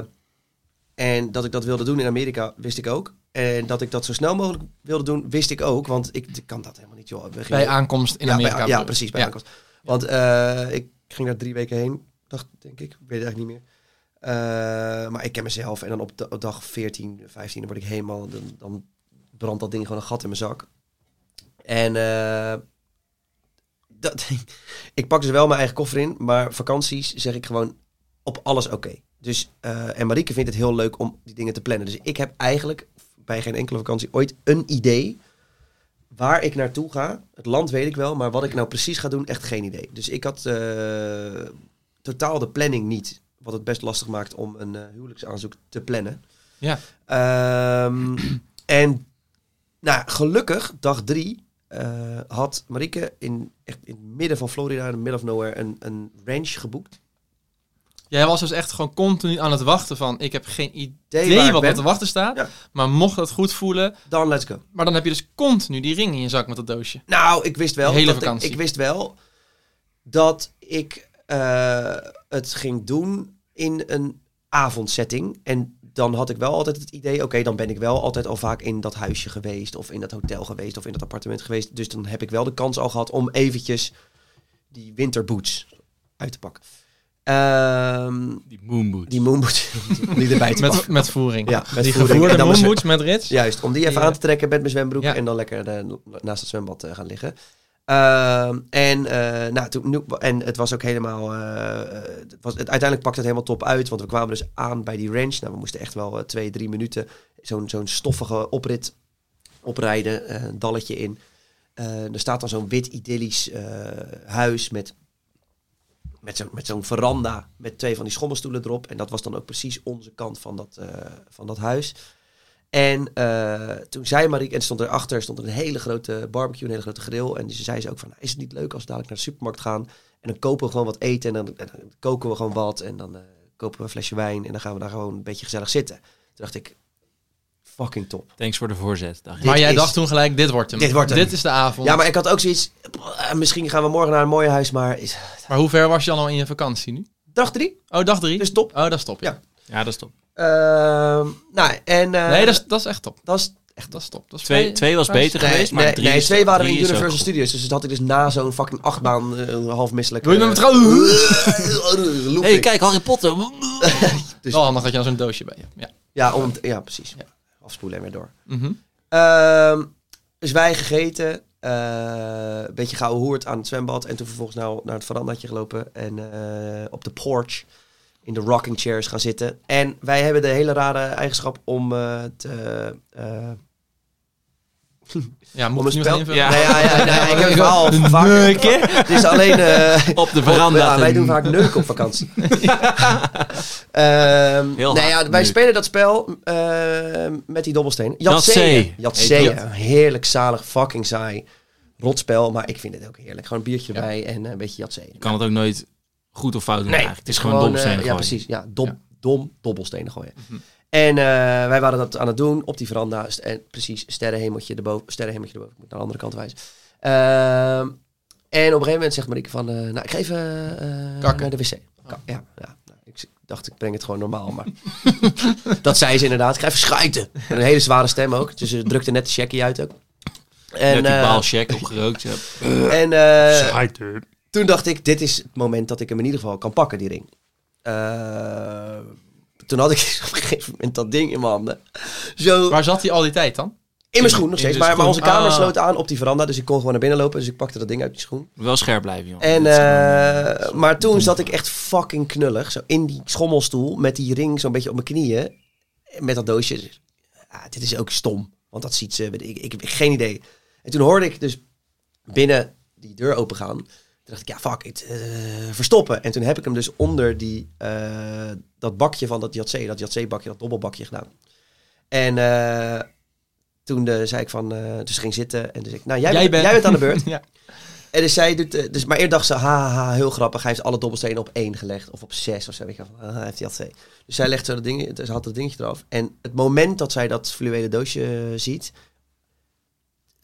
en dat ik dat wilde doen in Amerika, wist ik ook. En dat ik dat zo snel mogelijk wilde doen, wist ik ook. Want ik, ik kan dat helemaal niet, joh. We gingen- bij aankomst in ja, bij- Amerika. ja, bedoel ik. precies, bij Ja. aankomst. Want eh, ik ging daar drie weken heen, dacht denk ik. Ik weet het eigenlijk niet meer. Eh, maar ik ken mezelf. En dan op, da- op dag 14, 15 dan word ik helemaal... Dan, dan brandt dat ding gewoon een gat in mijn zak. En eh, dat, [laughs] ik pak dus wel mijn eigen koffer in. Maar vakanties zeg ik gewoon op alles oké. Dus, eh, en Marieke vindt het heel leuk om die dingen te plannen. Dus ik heb eigenlijk bij geen enkele vakantie ooit een idee waar ik naartoe ga. Het land weet ik wel, maar wat ik nou precies ga doen, echt geen idee. Dus ik had eh, totaal de planning niet. Wat het best lastig maakt om een eh, huwelijksaanzoek te plannen. Ja. Ehm, en nou, gelukkig, dag drie, eh, had Marieke in, echt in het midden van Florida, in the middle of nowhere, een, een ranch geboekt. Jij was dus echt gewoon continu aan het wachten van... Ik heb geen Idee waar idee ik wat ben. er te wachten staat. Ja. Maar mocht dat goed voelen... Dan let's go. Maar dan heb je dus continu die ring in je zak met dat doosje. Nou, ik wist wel. De hele dat ik- vakantie. Ik, wist wel dat ik eh, het ging doen in een avondsetting. En dan had ik wel altijd het idee, oké, dan ben ik wel altijd al vaak in dat huisje geweest, of in dat hotel geweest, of in dat appartement geweest. Dus dan heb ik wel de kans al gehad om eventjes die winterboots uit te pakken. Ehm, Die moonboot. die moonboots, [laughs] die erbij te pakken. Met, met voering. Ja, met die voering. En gevoerde dan mijn moonboots met rits. Juist, om die even Ja. aan te trekken met mijn zwembroek Ja. en dan lekker eh, naast het zwembad eh, gaan liggen. Ehm, en, eh, nou, toen, nu- en het was ook helemaal. eh, eh, het was, het, uiteindelijk pakte het helemaal top uit, want we kwamen dus aan bij die ranch. Nou, we moesten echt wel eh, twee, drie minuten zo'n zo'n stoffige oprit oprijden, eh, een dalletje in. Eh, er staat dan zo'n wit idyllisch eh, huis met, met zo'n met zo'n veranda met twee van die schommelstoelen erop. En dat was dan ook precies onze kant van dat, eh, van dat huis. En eh, toen zei Marieke, en stond erachter stond er een hele grote barbecue, een hele grote grill. En ze zei ze ook van, "Nou, is het niet leuk als we dadelijk naar de supermarkt gaan? En dan kopen we gewoon wat eten en dan, en dan koken we gewoon wat. En dan eh, kopen we een flesje wijn en dan gaan we daar gewoon een beetje gezellig zitten. Toen dacht ik, fucking top. Thanks voor de voorzet. dacht ik. Maar Dit jij is- dacht toen gelijk, dit wordt hem. Dit wordt hem. is de avond. Ja, maar maar... ik had ook zoiets. eh, Misschien gaan we morgen naar een mooi huis, maar is- hoe ver was je dan al in je vakantie nu? dag drie, Oh, dag drie? dus top. Oh, dat is top, ja. Ja. Ja, dat is top. Ehm, nou, en eh, Nee, dat is, dat is echt top. dat is Echt, dat is top. Dat is Twee, vrij- twee was vrij- beter nee, geweest, maar nee, drie nee, is- twee waren we drie in is ook Universal goed. Studios, dus dat had ik dus na zo'n fucking achtbaan eh, een half misselijk. Wil je met me [laughs] trouwen? hey, kijk, Oh. Harry Potter. dus- Wel handig dat je dan zo'n doosje bij je hebt. Ja. Ja, om, het- ja, precies. Afspoelen en weer door. Mhm. Ehm, dus wij gegeten. eh, een beetje gauw hoerd aan het zwembad. En toen vervolgens nou naar het verandatje gelopen. En eh, op de porch. In de rocking chairs gaan zitten. En wij hebben de hele rare eigenschap om eh, te... eh, Ja, om moet ik nu nog spel- invullen? Ja. Nou ja, ja, nou, ik heb het verhaal al vaak... Het is alleen... eh, Op de ja, veranda. wij doen [laughs] vaak neuk op vakantie. [laughs] Ehm, Heel nou ja, hard wij neuk. spelen dat spel ehm, met die dobbelsteen. Jatzee. Jatzee. Heet Jatzee. dat. Een Heerlijk, zalig, fucking saai. Rotspel, maar ik vind het ook heerlijk. Gewoon een biertje Ja. erbij en een beetje jatzee. Je kan het ook nooit goed of fout doen Nee, eigenlijk. Het is gewoon eh, dobbelstenen Ja, gooien. Mhm. precies. Ja, dom, Ja. dom dobbelstenen gooien. En eh, wij waren dat aan het doen op die veranda. St- En precies, sterrenhemeltje erboven. Sterrenhemeltje erboven. Ik moet naar de andere kant wijzen. Ehm, en op een gegeven moment zegt Marieke van... eh, nou, ik ga even eh, Kakken. naar de wc. Oh. Ka- ja, ja. Nou, ik z- dacht, ik breng het gewoon normaal. Maar [laughs] dat zei ze inderdaad. Ik ga even schuiten. En een hele zware stem ook. Dus ze drukte net de checkie uit ook. En, Net die eh, baalcheck opgerookt. ja. en eh, Schuiter. toen dacht ik, dit is het moment dat ik hem in ieder geval kan pakken, die ring. Eh, toen had ik [laughs] op een gegeven moment dat ding in mijn handen. Zo, Waar zat hij al die tijd dan? in mijn schoen nog steeds. in de Maar, maar onze schoen. kamer Ah. sloot aan op die veranda, dus ik kon gewoon naar binnen lopen. Dus ik pakte dat ding uit die schoen. Wel scherp blijven, jongen. En, Dit is gewoon, eh, eh, maar toen zat ik echt fucking knullig. Zo in die schommelstoel, met die ring zo'n beetje op mijn knieën. Met dat doosje. Dus, ah, dit is ook stom, want dat ziet ze. weet Ik, ik heb geen idee. En toen hoorde ik dus binnen die deur opengaan. Toen dacht ik, ja, fuck it, eh, verstoppen. En toen heb ik hem dus onder die, eh, dat bakje van dat jatzee, dat jatzee-bakje, dat dobbelbakje gedaan. En eh, toen eh, zei ik van, eh, dus ging zitten. En dus ik, nou, jij, Jij bent, bent- jij bent aan de beurt. [laughs] Ja. En dus zij doet, eh, dus, maar eerder dacht ze, haha, heel grappig. Hij heeft alle dobbelstenen op één gelegd, of op zes of zo. Weet je, wel. Ah, hij heeft jatzee. Dus zij legt zo dat ding, ze had dat dingetje eraf. En het moment dat zij dat fluwelen doosje eh, ziet,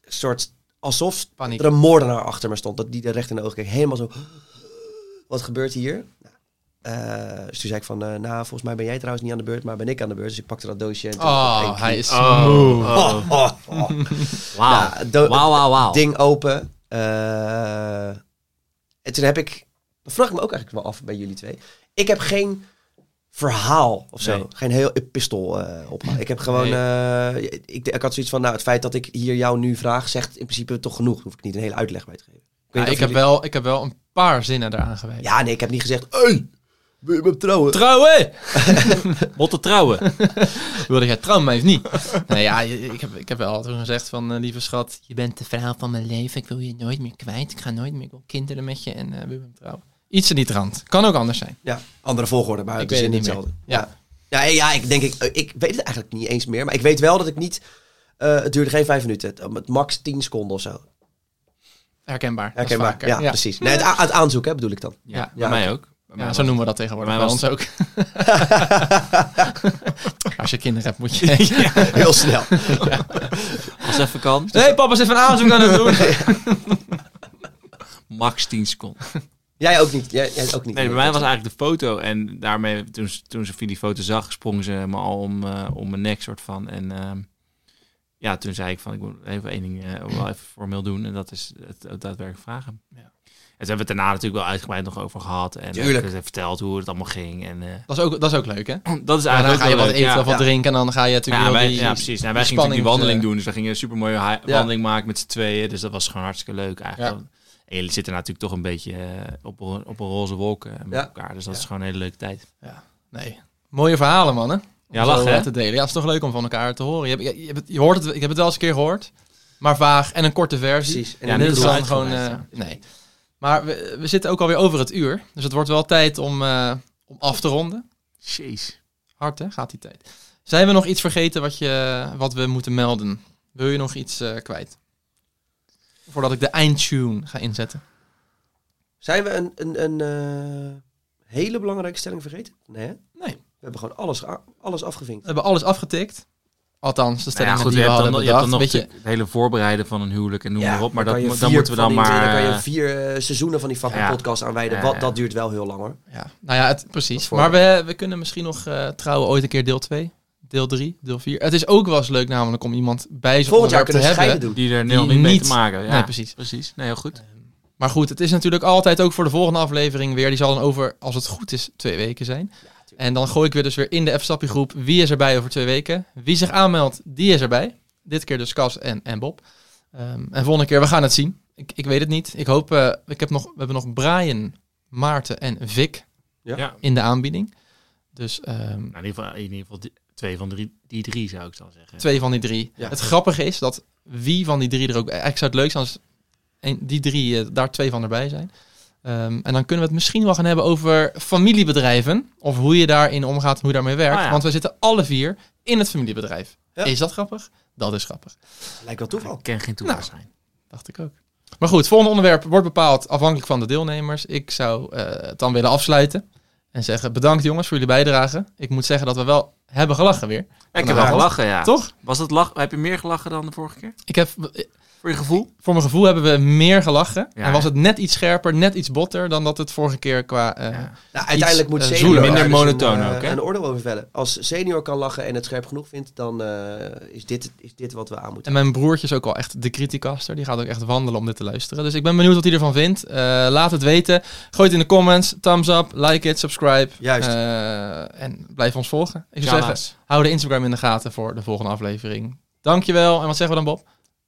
soort alsof Paniek. er een moordenaar achter me stond. Dat die er recht in de ogen keek. Helemaal zo. [gasps] Wat gebeurt hier? Nou, eh, dus toen zei ik van, eh, nou, volgens mij ben jij trouwens niet aan de beurt, maar ben ik aan de beurt. Dus ik Ah. pakte dat doosje. En toen Oh, hij is Oh, moe. oh. Oh, oh, oh. Wauw. Nou, do- Wauw, wauw, Oh. wauw. Ding open. Eh, en toen heb ik, dat vraag ik me ook eigenlijk wel af bij jullie twee. Ik heb geen verhaal of zo. Nee. Geen heel epistel eh op. Ik heb gewoon, Nee. eh, ik, ik had zoiets van, nou, het feit dat ik hier jou nu vraag, zegt in principe toch genoeg. Daar hoef ik niet een hele uitleg bij te geven. Ik, weet Ja, niet ik, of heb jullie- wel, ik heb wel een paar zinnen eraan gewijd. Ja, nee, ik heb niet gezegd, hey, wil je me trouwen? [laughs] Trouwen! Motten trouwen. Wilde jij trouwen, maar heeft niet. [laughs] nee, ja, je- ik heb, ik heb wel toen gezegd van, eh, lieve schat, je bent de verhaal van mijn leven. Ik wil je nooit meer kwijt. Ik ga nooit meer, ik wil kinderen met je en eh, we willen trouwen. Iets in die trant. Kan ook anders zijn. Ja, andere volgorde, maar Ik het weet is het in niet meer. hetzelfde. Ja. Ja, ja, ja, ik denk, ik, eh, ik weet het eigenlijk niet eens meer. Maar ik weet wel dat ik niet, eh, het duurde geen vijf minuten. Het, eh, het max tien seconden of zo. Herkenbaar. Dat is Herkenbaar. vaker. Ja, ja. precies. Nee, het, a- het aanzoek hè, bedoel ik dan. [laughs] Ja, bij Ja. mij ook. Bij mij Ja, was zo noemen we dat tegenwoordig. Bij Bij ons mij ook. [laughs] Als je kinderen hebt, moet je... [laughs] Heel snel. het. Als even kan. [laughs] Nee, papa zit van aanzoek aan het doen. Max 10 seconden. Jij ook niet. Jij, jij ook niet. Nee, bij mij was eigenlijk de foto. En daarmee, toen, ze- toen Sophie die foto zag, sprong ze me al om, eh, om mijn nek soort van. En ehm, ja, toen zei ik van, ik moet even één ding eh, wel even formeel doen. En dat is het, het daadwerkelijk vragen. Ja. En ze hebben het daarna natuurlijk wel uitgebreid nog over gehad. En Tuurlijk. eh, ze heeft verteld hoe het allemaal ging. En eh, [clears throat] Dat is ook, dat is ook leuk, hè? dat is eigenlijk Ja, dan ook ga je wel wat leuk, eten ja. of wat Ja. drinken en dan ga je natuurlijk Ja, wel wij, die... ja, precies. Nou, wij die gingen natuurlijk die spanning, wandeling eh, doen. Dus we gingen een supermooie hi- Ja. wandeling maken met z'n tweeën. Dus dat was gewoon hartstikke leuk eigenlijk. Ja. En jullie zitten natuurlijk toch een beetje eh, op, een- op een roze wolk eh, met Ja. elkaar. Dus dat Ja. is gewoon een hele leuke tijd. Nee. Mooie verhalen, mannen. Om Ja, zo, lachen, eh, hè? te delen. Ja, het is toch leuk om van elkaar te horen. Je, hebt, je, hebt het- je hoort het, ik heb het wel eens een keer gehoord, maar vaag en een korte versie. Precies. En Ja, En in dit de is kroeg. dan uitgebreid, gewoon... eh, nee. Maar we, we zitten ook alweer over het uur, dus het wordt wel tijd om, eh, om af te ronden. Jeez. Hard, hè? Gaat die tijd. Zijn we nog iets vergeten wat, je, wat we moeten melden? Wil je nog iets eh, kwijt? Voordat ik de eindtune ga inzetten. Zijn we een, een, een eh, hele belangrijke stelling vergeten? Nee. hè? Nee. We hebben gewoon alles, a- alles afgevinkt. We hebben alles afgetikt. Althans, de Nou ja, stellingen goed, die je we hebt hadden dan, nog- je hebt bedacht. dan nog Een beetje, het hele voorbereiden van een huwelijk en noem maar op. Maar dat, dan kan je dan vier moeten we dan van die dingen- maar... Dan kan eh, je vier eh, seizoenen van die fucking Ja. podcast aanwijden. Ja, Wat, ja. dat duurt wel heel lang hoor. ja. Nou ja, het, precies. voor- Maar we, we kunnen misschien nog eh, trouwen ooit een keer deel 2, deel 3, deel 4. Het is ook wel eens leuk namelijk om iemand bij zo'n Volgend jaar onderwerp te kunnen we hebben. scheiden doen. Die er nul die niet mee niet- te maken. Ja, Nee, precies. Precies. Nee, heel goed. Maar goed, het is natuurlijk altijd ook voor de volgende aflevering weer. Die zal dan over, als het goed is, twee weken zijn. en dan gooi ik weer dus weer in de F-Sappie groep. Wie is erbij over twee weken? Wie zich aanmeldt, die is erbij. Dit keer dus Cas en, en Bob. Ehm, en volgende keer, we gaan het zien. Ik, ik weet het niet. Ik hoop, eh, ik heb nog, we hebben nog Brian, Maarten en Vic Ja. Ja. in de aanbieding. Dus ehm, Nou, in, ieder geval, in ieder geval die- twee van drie, die drie zou ik dan zeggen. twee van die drie. Ja. Het grappige is dat wie van die drie er ook... Ik zou het leuk zijn als een- die drie, eh, daar twee van erbij zijn. Ehm, en dan kunnen we het misschien wel gaan hebben over familiebedrijven. Of hoe je daarin omgaat en hoe je daarmee werkt. Ah, ja. Want we zitten alle vier in het familiebedrijf. Ja. Is dat grappig? Dat is grappig. Lijkt wel toeval. Ik ken geen toeval zijn. Dacht ik ook. Maar goed, het volgende onderwerp wordt bepaald afhankelijk van de deelnemers. Ik zou eh, het dan willen afsluiten. En zeggen bedankt jongens voor jullie bijdrage. Ik moet zeggen dat we wel hebben gelachen weer. Ik heb wel gelachen, ja. Toch? Was het lach, heb je meer gelachen dan de vorige keer? Ik heb, Voor je gevoel? voor mijn gevoel hebben we meer gelachen. Ja, en was hè? het net iets scherper, net iets botter dan dat het vorige keer qua... eh, Ja. Nou, uiteindelijk moet eh, senior zoeler. daar Minder dus monotoon een, eh, ook, hè? een oordeel over vellen. Als senior kan lachen en het scherp genoeg vindt, dan eh, is, dit, is dit wat we aan moeten. En mijn broertje is ook wel echt de criticaster. Die gaat ook echt wandelen om dit te luisteren. Dus ik ben benieuwd wat hij ervan vindt. Eh, laat het weten. Gooi het in de comments. Thumbs up, like it, subscribe. Juist. Eh, en blijf ons volgen. Ik zou zeggen, Tjala's. hou de Instagram in de gaten voor de volgende aflevering. Dankjewel. En wat zeggen we dan, Bob?